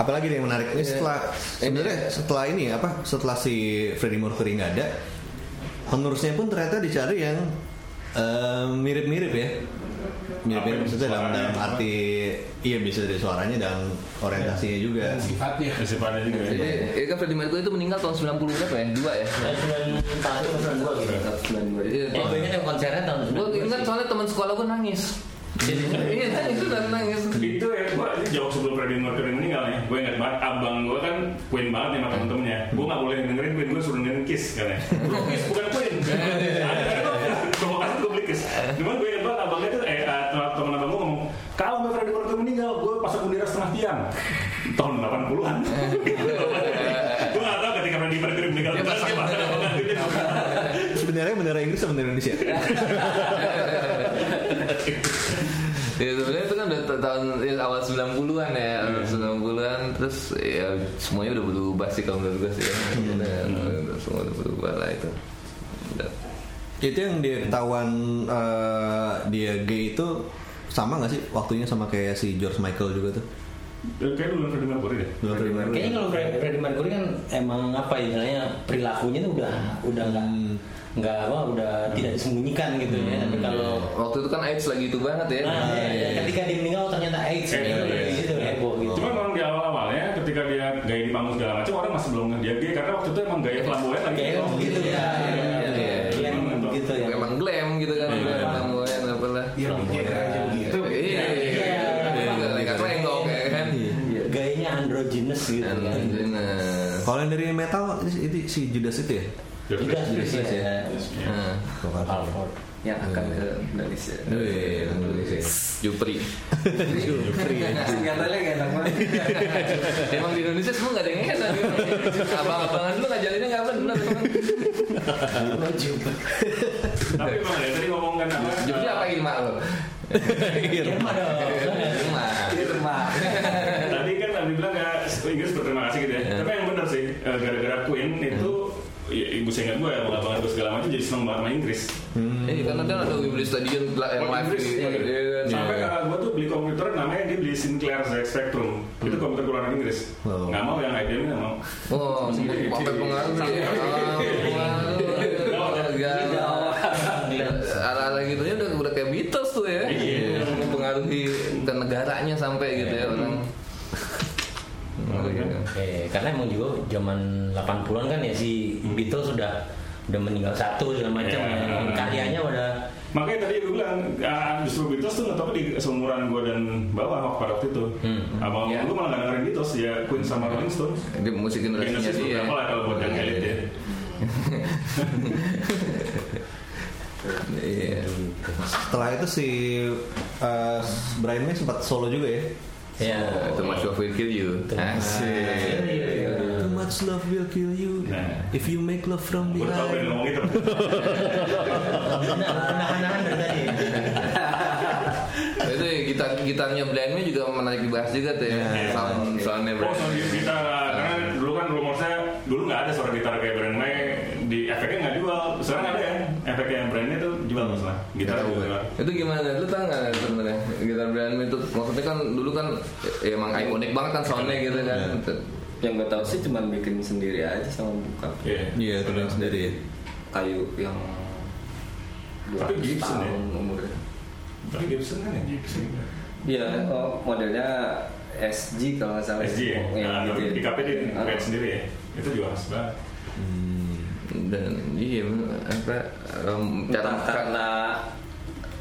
[SPEAKER 3] Apalagi nih yang menarik Iya. ini setelah sebenarnya setelah ini ya, apa setelah si Freddie Mercury nggak ada, penerusnya pun ternyata dicari yang eh, mirip-mirip ya. Mirip-mirip
[SPEAKER 4] Apa yang
[SPEAKER 3] maksudnya dalam,
[SPEAKER 4] suaranya
[SPEAKER 3] dalam
[SPEAKER 4] apa?
[SPEAKER 3] arti iya bisa dari suaranya dan orientasinya juga.
[SPEAKER 2] sifatnya
[SPEAKER 4] Kesipannya juga. ya.
[SPEAKER 5] Jadi, ya kan Freddie Mercury itu meninggal tahun 90 berapa ya? Dua ya?
[SPEAKER 6] tahun 92 gitu.
[SPEAKER 5] Iya.
[SPEAKER 6] Eh, gue ingat yang konsernya tahun
[SPEAKER 5] Gue ingat soalnya teman sekolah gue nangis. Iya nangis itu dan nangis.
[SPEAKER 4] itu ya gue jauh sebelum Freddie Mercury meninggal nih gue ingat banget abang gue kan Queen banget nih sama temen-temennya gue gak boleh dengerin Queen gue suruh dengerin Kiss karena Bro, Kiss bukan Queen gue kasih gue beli Kiss cuman gue ingat banget abangnya tuh eh eh, temen abang gue ngomong kalau nggak Freddie Mercury meninggal gue pasang bendera setengah tiang tahun 80-an gue gak tau ketika Freddie Mercury meninggal dia pasang apa enggak.
[SPEAKER 3] Sebenarnya bendera Inggris sama bendera Indonesia.
[SPEAKER 5] Ya sebenarnya itu kan udah ta- tahun ya, awal 90-an ya, awal 90-an terus ya semuanya udah berubah sih kalau menurut gue sih. Ya. Udah, udah, Semua udah berubah lah itu. Udah.
[SPEAKER 3] itu yang dia ketahuan eh, dia gay itu sama nggak sih waktunya sama kayak si George Michael juga tuh?
[SPEAKER 4] kayaknya dulu Freddie Mercury deh
[SPEAKER 3] Belum Freddie Mercury.
[SPEAKER 6] Kayaknya kalau Fre- Freddie Mercury kan emang apa ya, istilahnya perilakunya tuh udah udah nggak nggak apa udah tidak disembunyikan gitu ya. Tapi kalau
[SPEAKER 5] Waktu itu kan AIDS lagi itu banget ya.
[SPEAKER 6] nah, ya, ya, ketika dia meninggal oh, ternyata AIDS
[SPEAKER 4] Iya,
[SPEAKER 6] gitu
[SPEAKER 4] iya,
[SPEAKER 6] di
[SPEAKER 4] iya.
[SPEAKER 6] situ heboh gitu.
[SPEAKER 4] Cuma memang di awal-awalnya ketika dia gaya di panggung segala macam orang masih belum ngeh dia gay karena waktu itu emang gaya flamboyan lagi.
[SPEAKER 6] Kayak
[SPEAKER 4] Oh,
[SPEAKER 6] begitu ya.
[SPEAKER 4] iya, iya, iya.
[SPEAKER 6] Iya, emang begitu ya.
[SPEAKER 5] Memang glam gitu kan,
[SPEAKER 4] Iya.
[SPEAKER 5] glam flamboyan apalah.
[SPEAKER 2] Iya, dia aja begitu.
[SPEAKER 5] Iya, iya, iya. Gak lenggok ya kan.
[SPEAKER 6] Gayanya androgynous gitu
[SPEAKER 5] Dan
[SPEAKER 6] kan.
[SPEAKER 5] bener.
[SPEAKER 3] Kalau yang dari metal itu, itu si Judas itu ya?
[SPEAKER 6] Judas Judas ya.
[SPEAKER 5] Nah.
[SPEAKER 6] Halford.
[SPEAKER 7] yang akan
[SPEAKER 4] Iya.
[SPEAKER 7] ke Indonesia.
[SPEAKER 4] Oh,
[SPEAKER 3] Wih, Indonesia.
[SPEAKER 5] Jupri.
[SPEAKER 7] Singkatannya gak enak banget.
[SPEAKER 5] Emang di Indonesia semua gak ada yang enak. gitu. Abang-abangan lu ngajarinnya gak benar.
[SPEAKER 4] Tapi emang ya tadi ngomong kan apa?
[SPEAKER 5] Jupri apa Irma lo? Iya,
[SPEAKER 6] Irma dong.
[SPEAKER 5] Irma.
[SPEAKER 6] Iya.
[SPEAKER 7] Di rumah.
[SPEAKER 4] Tadi kan Abi bilang nggak Inggris berterima kasih gitu ya. Tapi yang benar sih eh, gara-gara Queen itu ya, ibu saya ingat gue ya abang gue segala macam jadi seneng banget sama Inggris.
[SPEAKER 5] Eh, karena kan ada Wembley Stadium lah, yang
[SPEAKER 4] Buat
[SPEAKER 5] live
[SPEAKER 4] Inggris,
[SPEAKER 5] di
[SPEAKER 4] iya.
[SPEAKER 5] iya kan.
[SPEAKER 4] Sampai
[SPEAKER 5] Iya.
[SPEAKER 4] kakak gue tuh beli komputer namanya dia beli Sinclair ZX Spectrum. Itu komputer keluaran Inggris.
[SPEAKER 3] Wow.
[SPEAKER 4] Nggak mau yang IBM nggak mau.
[SPEAKER 5] Oh, sampai pengaruh ya. Ah, pengaruh. Ya, Arah-arah gitu ya udah udah kayak Beatles tuh ya.
[SPEAKER 4] Iya.
[SPEAKER 5] Mempengaruhi ke negaranya sampai gitu ya orang.
[SPEAKER 4] Iya.
[SPEAKER 5] Oh, iya.
[SPEAKER 6] Eh, karena emang juga zaman 80-an kan ya si Beatles sudah udah meninggal satu segala macam
[SPEAKER 4] Iya.
[SPEAKER 6] ya. karyanya udah
[SPEAKER 4] Makanya tadi gue bilang ah, justru Beatles tuh ngetopnya di seumuran gue dan bawah pada waktu itu. Abang
[SPEAKER 5] Iya.
[SPEAKER 4] gue malah gak dengerin Beatles ya Queen sama Rolling Stones.
[SPEAKER 5] Dia musik generasinya
[SPEAKER 4] Genesis
[SPEAKER 5] dia.
[SPEAKER 4] berapa lah kalau buat yang
[SPEAKER 5] Iya,
[SPEAKER 4] elit
[SPEAKER 5] iya.
[SPEAKER 4] ya.
[SPEAKER 5] Iya.
[SPEAKER 3] Setelah itu si eh, Brian May sempat solo juga ya.
[SPEAKER 6] Iya.
[SPEAKER 5] Itu Mas Shofir Kill You. Asik.
[SPEAKER 3] Too much love will kill you
[SPEAKER 4] Nah.
[SPEAKER 3] if you make love from
[SPEAKER 4] Gue tau pengen
[SPEAKER 3] behind.
[SPEAKER 4] ngomong itu.
[SPEAKER 6] Menahan-nahan dari tadi.
[SPEAKER 5] Itu gitar gitarnya Brian May juga menarik dibahas juga tuh ya. Sound soundnya
[SPEAKER 4] Oh,
[SPEAKER 5] Brian
[SPEAKER 4] soal
[SPEAKER 5] May.
[SPEAKER 4] kita karena dulu kan rumornya dulu nggak ada suara gitar kayak brand May di efeknya nggak jual. Sekarang ada ya efeknya yang brandnya tuh jual masalah. Gitar
[SPEAKER 3] Nggak tahu
[SPEAKER 4] juga
[SPEAKER 3] gue.
[SPEAKER 4] jual.
[SPEAKER 5] Gitu. Itu gimana? Lu tau nggak sebenarnya gitar Brian May itu maksudnya kan dulu kan ya, emang ikonik banget kan soundnya gitu kan.
[SPEAKER 7] yang gue tahu sih cuman bikin sendiri aja sama buka
[SPEAKER 4] Iya.
[SPEAKER 3] Iya, itu dia sendiri. ya.
[SPEAKER 7] kayu yang
[SPEAKER 4] Tapi
[SPEAKER 7] 200
[SPEAKER 4] Gibson ya?
[SPEAKER 7] tahun umurnya
[SPEAKER 4] Tapi Gibson kan ya.
[SPEAKER 7] Iya, oh, modelnya SG kalau nggak salah.
[SPEAKER 4] SG ya.
[SPEAKER 7] Iya,
[SPEAKER 4] Nah,
[SPEAKER 7] gitu
[SPEAKER 4] tapi
[SPEAKER 7] ya.
[SPEAKER 4] di KP dia
[SPEAKER 7] Ah.
[SPEAKER 4] create sendiri ya. Itu juga khas banget.
[SPEAKER 5] Dan iya apa um,
[SPEAKER 7] Entah
[SPEAKER 5] cara
[SPEAKER 7] karena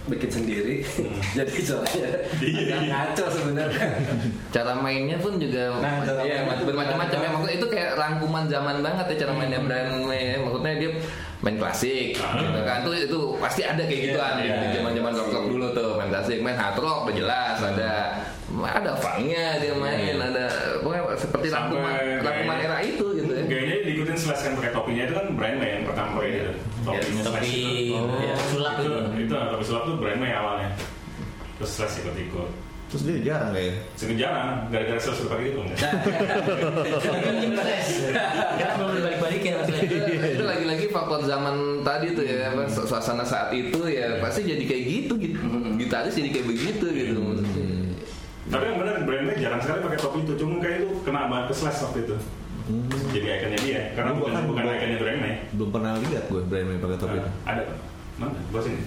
[SPEAKER 7] bikin sendiri,
[SPEAKER 4] Hmm.
[SPEAKER 7] jadi soalnya agak ngaco sebenarnya.
[SPEAKER 5] cara mainnya pun juga
[SPEAKER 6] Nah, cara
[SPEAKER 5] iya,
[SPEAKER 6] mainnya.
[SPEAKER 5] bermacam-macam ya maksudnya itu kayak rangkuman zaman banget ya cara mainnya Brian May ya. maksudnya dia main klasik gitu kan tuh itu pasti ada kayak gituan
[SPEAKER 4] Iya,
[SPEAKER 5] di
[SPEAKER 4] iya.
[SPEAKER 5] zaman-zaman rock rock dulu tuh main klasik main hard rock udah jelas ada ada funknya dia main ada pokoknya seperti
[SPEAKER 4] Sampai
[SPEAKER 5] rangkuman
[SPEAKER 4] kayak- Iya,
[SPEAKER 5] rangkuman era itu gitu ya
[SPEAKER 4] Gayanya diikutin Slash kan pakai topinya itu kan brand May yang pertama kali itu. Topinya Slash
[SPEAKER 6] Tapi
[SPEAKER 4] itu.
[SPEAKER 6] ya, sulap
[SPEAKER 4] Itu,
[SPEAKER 6] itu.
[SPEAKER 4] itu topi sulap tuh brand May awalnya. Terus Slash ikut-ikut.
[SPEAKER 3] Terus dia jarang kayak.
[SPEAKER 4] Sering jarang, gara-gara Slash berpakaian itu enggak.
[SPEAKER 6] Kan ini flash. Kan belum dibalik-balikin maksudnya.
[SPEAKER 5] itu
[SPEAKER 6] iya.
[SPEAKER 5] lagi-lagi faktor zaman tadi tuh ya apa, su- suasana saat itu ya pasti jadi kayak gitu gitu gitaris jadi kayak begitu gitu
[SPEAKER 4] Tapi yang benar brandnya jarang sekali pakai topi itu, cuma kayak itu kena banget ke slash waktu itu. Jadi ikonnya dia, karena
[SPEAKER 3] Lu
[SPEAKER 4] bukan
[SPEAKER 3] bahkan
[SPEAKER 4] bukan
[SPEAKER 3] gua-
[SPEAKER 4] ikonnya brandnya.
[SPEAKER 3] Belum pernah lihat gue Brian May pakai topi.
[SPEAKER 4] Nah, ada mana? Bos ini,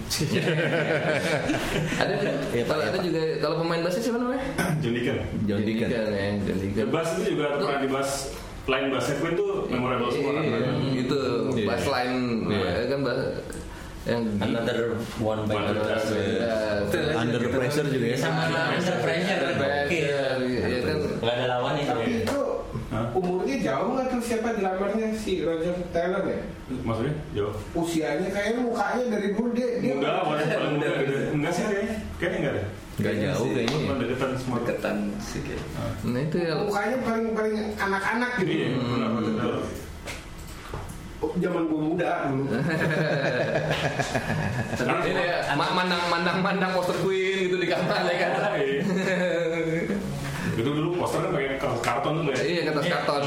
[SPEAKER 5] ada
[SPEAKER 3] Iya,
[SPEAKER 5] kalau ada juga kalau pemain bassnya siapa namanya
[SPEAKER 4] John Deacon.
[SPEAKER 3] John Deacon.
[SPEAKER 5] ya John Deacon
[SPEAKER 4] The Bass itu juga pernah dibahas line bassnya Queen tuh memorable semua kan.
[SPEAKER 5] Iya, itu
[SPEAKER 3] Iya.
[SPEAKER 5] bass line
[SPEAKER 3] Iya.
[SPEAKER 5] eh, kan bass yang
[SPEAKER 6] Another one by
[SPEAKER 4] Another
[SPEAKER 6] another.
[SPEAKER 5] Eh,
[SPEAKER 3] Under pressure juga ya.
[SPEAKER 6] Sama Under Pressure.
[SPEAKER 5] Under Pressure, iya kan.
[SPEAKER 6] Gak ada lawan ya, itu.
[SPEAKER 2] Tapi itu
[SPEAKER 4] Hah?
[SPEAKER 2] umurnya jauh nggak tuh siapa dramernya si Roger Taylor ya?
[SPEAKER 4] Maksudnya, jauh.
[SPEAKER 2] Usianya kayaknya mukanya dari dulu dia. dia-
[SPEAKER 4] Muda, warna paling muda, gitu. enggak sih kayaknya, kayaknya enggak ada.
[SPEAKER 3] Gak jauh kayaknya. ya.
[SPEAKER 4] Cuma deketan semua.
[SPEAKER 7] Deketan sih kayak.
[SPEAKER 5] nah itu ya
[SPEAKER 2] Mukanya paling paling anak-anak gitu.
[SPEAKER 4] Iya, benar benar.
[SPEAKER 2] Oh, Zaman gue muda dulu.
[SPEAKER 5] ini ya, ma- mandang mandang mandang poster Queen gitu di kamar ya kan
[SPEAKER 4] Iya. Itu dulu posternya pakai kertas karton tuh ya.
[SPEAKER 5] iya kertas karton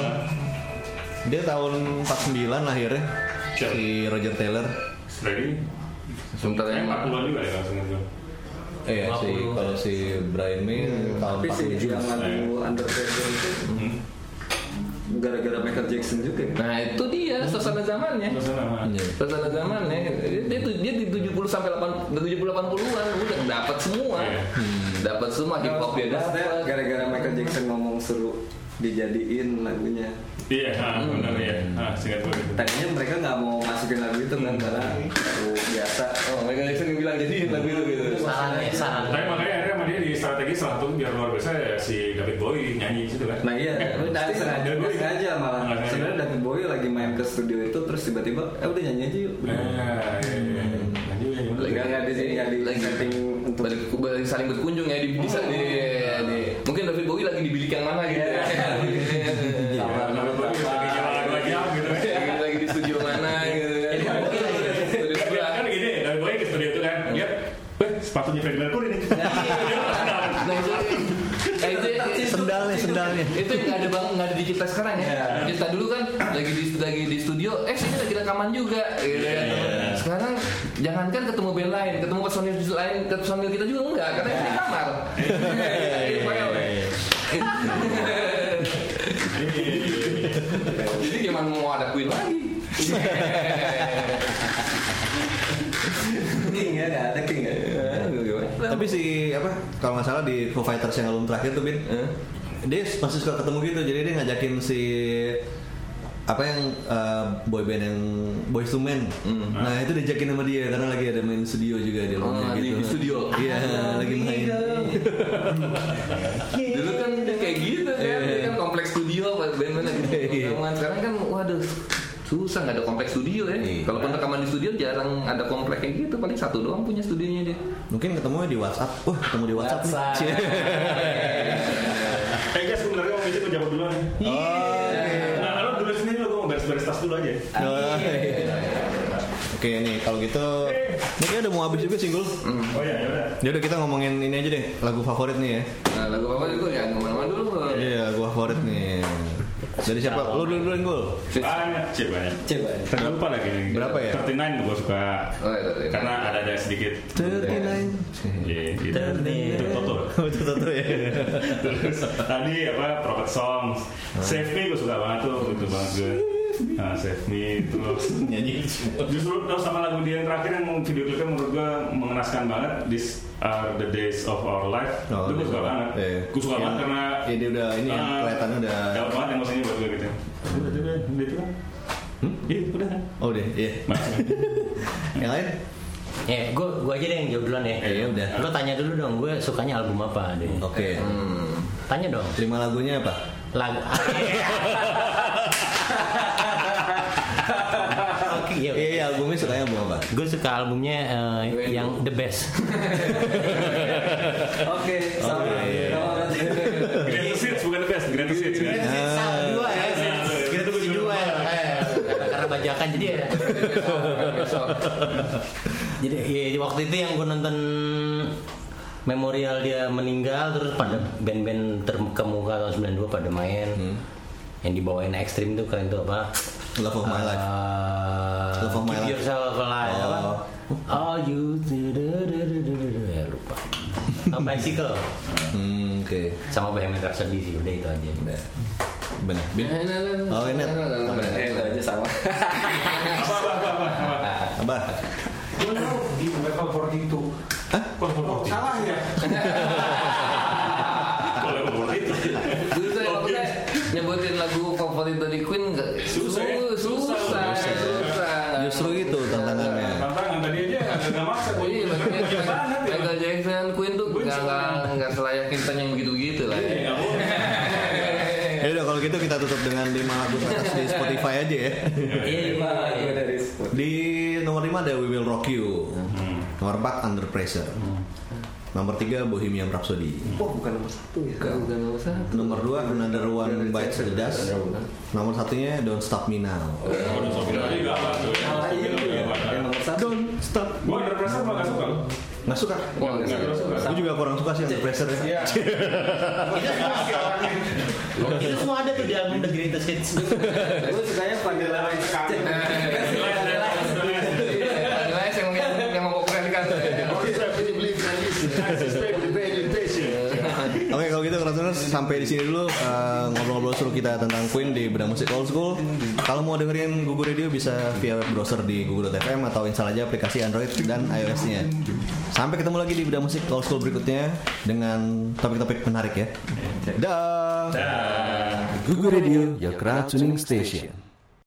[SPEAKER 3] Dia tahun 49 lahirnya
[SPEAKER 4] Siap.
[SPEAKER 3] si Roger Taylor.
[SPEAKER 4] Ready?
[SPEAKER 5] sebentar ya
[SPEAKER 4] Kayaknya 40-an juga deh langsung itu.
[SPEAKER 3] Eh si
[SPEAKER 6] 50.
[SPEAKER 3] kalau si Brian May tahun
[SPEAKER 7] Tapi sih yang
[SPEAKER 3] 47.
[SPEAKER 4] Nah,
[SPEAKER 7] lagu
[SPEAKER 4] ya.
[SPEAKER 7] Under Pressure itu gara-gara Michael Jackson juga. ya.
[SPEAKER 5] nah itu dia suasana zamannya
[SPEAKER 4] Terus nama
[SPEAKER 3] Iya.
[SPEAKER 5] suasana zamannya ya, dia, dia, tuh- dia di 70 sampai 8 70 80-an udah dapat semua
[SPEAKER 4] Iya.
[SPEAKER 3] Hmm.
[SPEAKER 5] dapat semua hip hop dia
[SPEAKER 7] Maksudnya
[SPEAKER 5] dapat
[SPEAKER 7] Gara-gara Michael Jackson ngomong suruh dijadiin lagunya.
[SPEAKER 4] Iya, ah, benar ya. Ah, singkat gue gitu.
[SPEAKER 7] Tadinya mereka nggak mau masukin lagu itu kan karena lagu biasa.
[SPEAKER 5] oh Michael Jackson yang bilang
[SPEAKER 7] Iya.
[SPEAKER 5] jadi lagu itu gitu
[SPEAKER 6] Sarannya, sarannya.
[SPEAKER 4] Tapi makanya akhirnya sama dia di strategi salah satu biar luar biasa ya si David Bowie nyanyi gitu kan.
[SPEAKER 7] Nah iya, dari sengaja,
[SPEAKER 4] David
[SPEAKER 7] nggak
[SPEAKER 4] Bowie.
[SPEAKER 7] sengaja malah.
[SPEAKER 4] Nggak sengaja.
[SPEAKER 7] Sebenarnya David Bowie lagi main ke studio itu terus tiba-tiba, eh udah nyanyi aja yuk.
[SPEAKER 4] Nah, iya, iya, iya. Nyanyi udah nyanyi.
[SPEAKER 7] Nggak nggak di sini nggak di
[SPEAKER 5] Lagi.
[SPEAKER 7] setting untuk Oh.
[SPEAKER 5] balik, balik saling berkunjung ya di bisa di, di mungkin David Bowie lagi di bilik yang mana gitu
[SPEAKER 7] Iya.
[SPEAKER 5] ya
[SPEAKER 7] sama
[SPEAKER 4] David Bowie lagi nyanyi lagu lagi apa gitu.
[SPEAKER 5] Lagi- lagi di studio mana gitu
[SPEAKER 7] Iya.
[SPEAKER 4] Kan
[SPEAKER 5] Studio sebelah.
[SPEAKER 4] kan gini, David Bowie ke studio itu kan, lihat, weh sepatunya Freddie Mercury nih. Dia pas kenal.
[SPEAKER 5] Nah, itu, nah, itu, itu,
[SPEAKER 3] Sendalnya, sendalnya. Iya.
[SPEAKER 5] itu yang nggak ada bang nggak ada di kita sekarang ya kita dulu kan lagi di lagi di studio eh sini lagi rekaman juga gitu ya.
[SPEAKER 3] Iya.
[SPEAKER 5] sekarang jangankan ketemu band lain ketemu personil lain ketemu personil kita juga enggak karena di kamar
[SPEAKER 3] Iya,
[SPEAKER 5] Iya, iya. jadi gimana mau ada Queen lagi
[SPEAKER 7] king ya nggak ada king ya.
[SPEAKER 3] Tapi si apa kalau nggak salah di Foo Fighters yang
[SPEAKER 5] Eh?
[SPEAKER 3] album terakhir tuh Bin, dia masih suka ketemu gitu. Jadi dia ngajakin si apa yang eh, boy boyband yang boys to men nah itu diajakin sama dia karena lagi ada main studio juga di
[SPEAKER 5] Hmm. Oh,
[SPEAKER 3] rumahnya
[SPEAKER 5] lagi
[SPEAKER 3] gitu
[SPEAKER 5] di studio.
[SPEAKER 3] iya lagi main
[SPEAKER 5] Dulu kan kayak gitu kan, Dia kan kompleks studio apa band-band lagi rekaman. Sekarang kan waduh susah nggak ada kompleks studio ya. Kalaupun rekaman di studio jarang ada kompleks kayak gitu, paling satu doang punya studionya dia.
[SPEAKER 3] mungkin ketemu di WhatsApp wah ketemu di WhatsApp, nih. Cie.
[SPEAKER 4] Eh guys, sebenarnya mau ngisi gue jawab dulu nih. Nah, lo dulu sendiri lo gue mau beres-beres tas dulu aja.
[SPEAKER 3] Oh, iya. oke nih kalau gitu ini kayak udah mau habis juga single
[SPEAKER 5] Hmm.
[SPEAKER 4] Oh iya, ya udah.
[SPEAKER 3] Yaudah kita ngomongin ini aja deh lagu favorit nih ya
[SPEAKER 5] Nah, lagu apa itu ya kemana-mana dulu.
[SPEAKER 3] Iya lagu favorit nih Dari siapa? Lu dulu dulu Gul
[SPEAKER 4] Banyak, cie banyak.
[SPEAKER 7] Coba.
[SPEAKER 4] Terlalu lupa lagi nih.
[SPEAKER 3] Berapa ya?
[SPEAKER 4] 39 gue suka.
[SPEAKER 5] Oh, iya, iya.
[SPEAKER 4] Karena ada ada sedikit.
[SPEAKER 3] 39
[SPEAKER 4] Iya, gitu.
[SPEAKER 6] 39.
[SPEAKER 4] Itu Toto.
[SPEAKER 3] Betul betul ya
[SPEAKER 4] Terus tadi apa Prophet Songs. Save Me gue suka banget tuh, itu banget gue. Nah, Save Me terus nyanyi Justru terus sama lagu dia yang terakhir yang video klipnya menurut gue mengenaskan banget This are the days of our life.
[SPEAKER 3] Oh,
[SPEAKER 4] itu gue suka banget.
[SPEAKER 3] iya.
[SPEAKER 4] Gue suka banget karena
[SPEAKER 3] Ya dia udah ini ya
[SPEAKER 4] Ah,
[SPEAKER 3] kelihatan udah
[SPEAKER 4] dapat banget emosinya buat gue gitu. Udah, udah, udah, udah, itu kan. Iya, udah. kan?
[SPEAKER 3] Oh deh iya Yang lain?
[SPEAKER 6] Ya, gue gue aja deh yang jawab duluan
[SPEAKER 4] Iya,
[SPEAKER 6] ya.
[SPEAKER 3] Eh, ya udah.
[SPEAKER 6] Lo tanya dulu dong, gue sukanya album apa deh.
[SPEAKER 3] Oke
[SPEAKER 6] Tanya dong.
[SPEAKER 3] Terima lagunya apa?
[SPEAKER 6] Lagu. Oke, ya.
[SPEAKER 3] Iya iya albumnya sukanya album apa?
[SPEAKER 6] Gue suka albumnya eh,
[SPEAKER 5] Wendo.
[SPEAKER 6] yang The Best.
[SPEAKER 7] Oke, sama.
[SPEAKER 4] Greatest hits bukan the best, greatest hits. kan?
[SPEAKER 6] Sama dua ya.
[SPEAKER 4] Kita tunggu
[SPEAKER 6] Si
[SPEAKER 4] di
[SPEAKER 6] dua
[SPEAKER 4] depan.
[SPEAKER 6] eh, karena bajakan jadi ya.
[SPEAKER 5] Besok.
[SPEAKER 6] Jadi ya, waktu itu yang gue nonton memorial dia meninggal terus pada band-band terkemuka tahun 92 pada main. Yang dibawain ekstrim tuh keren tuh apa?
[SPEAKER 3] Hmm. Love of My Life
[SPEAKER 6] Eh,
[SPEAKER 3] Love of My
[SPEAKER 6] Keep
[SPEAKER 3] Life. Oh.
[SPEAKER 6] Yourself Alive apa? All you do, do, do, do, do, do, do. Ya, lupa. Apa bicycle
[SPEAKER 3] Hmm oke
[SPEAKER 6] sama Bohemian Rhapsody sih udah itu aja.
[SPEAKER 3] Iya, Bener Bin Oh, ini.
[SPEAKER 7] Eh, itu aja sama.
[SPEAKER 4] Apa, apa, apa, apa, apa.
[SPEAKER 3] Abah
[SPEAKER 2] Gue tahu di level 42 Salah ya?
[SPEAKER 4] Kalau yang favorit.
[SPEAKER 5] Susah ya, maksudnya nyebutin lagu favorit dari Queen nggak?
[SPEAKER 4] Susah ya?
[SPEAKER 5] Susah, susah, susah.
[SPEAKER 3] Justru itu tantangannya
[SPEAKER 4] Tantangan tadi aja nggak maksa gue.
[SPEAKER 5] Iya, maksudnya Michael Jackson, Queen tuh nggak nggak- nggak selayak Queen yang begitu-begitu lah. ya.
[SPEAKER 4] Iya, Nggak
[SPEAKER 3] Iya.
[SPEAKER 4] boleh.
[SPEAKER 3] Ya udah kalau gitu kita tutup dengan 5 lagu teratas di Spotify aja ya
[SPEAKER 7] Lima lagu
[SPEAKER 3] iya.
[SPEAKER 7] dari sepuluh.
[SPEAKER 3] Di nomor 5 ada We Will Rock You Nomor 4 Under Pressure Nomor 3 Bohemian Rhapsody
[SPEAKER 7] Wah, bukan nomor satu ya.
[SPEAKER 5] Nggak nggak usah.
[SPEAKER 3] Nomor 2 Another One Bites the Dust Nomor satunya Don't Stop Me Now
[SPEAKER 4] Waduh, Sofi tadi nggak apa tuh. ya. Sofi
[SPEAKER 7] Nah, iya,
[SPEAKER 4] tadi
[SPEAKER 7] iya.
[SPEAKER 4] nggak apa.
[SPEAKER 7] Yang nomor satu.
[SPEAKER 3] Don't Stop
[SPEAKER 4] Gue ada perasaan malah nggak suka.
[SPEAKER 3] Iya.
[SPEAKER 4] loh.
[SPEAKER 3] Nggak suka
[SPEAKER 5] Wah,
[SPEAKER 4] Nggak terlalu suka.
[SPEAKER 3] Gue juga kurang suka sih Under Pressure ya
[SPEAKER 6] itu semua ada tuh di album The Greatest Hits.
[SPEAKER 7] Gue sukanya Pandela Rai Sekali.
[SPEAKER 5] Nilai yang yang- yang mau keren kan. Eh,
[SPEAKER 3] Oke kalau gitu Keras Tuners, sampai di sini dulu eh, ngobrol-ngobrol seru kita tentang Queen di Bedang Musik Old School. Kalau mau dengerin Gugu Radio bisa via web browser di gugu.fm atau install aja aplikasi Android dan iOS-nya. Sampai ketemu lagi di Bedang Musik Old School berikutnya dengan topik-topik menarik ya. Dah.
[SPEAKER 4] Dah.
[SPEAKER 3] Gugu Radio, your crowd tuning station.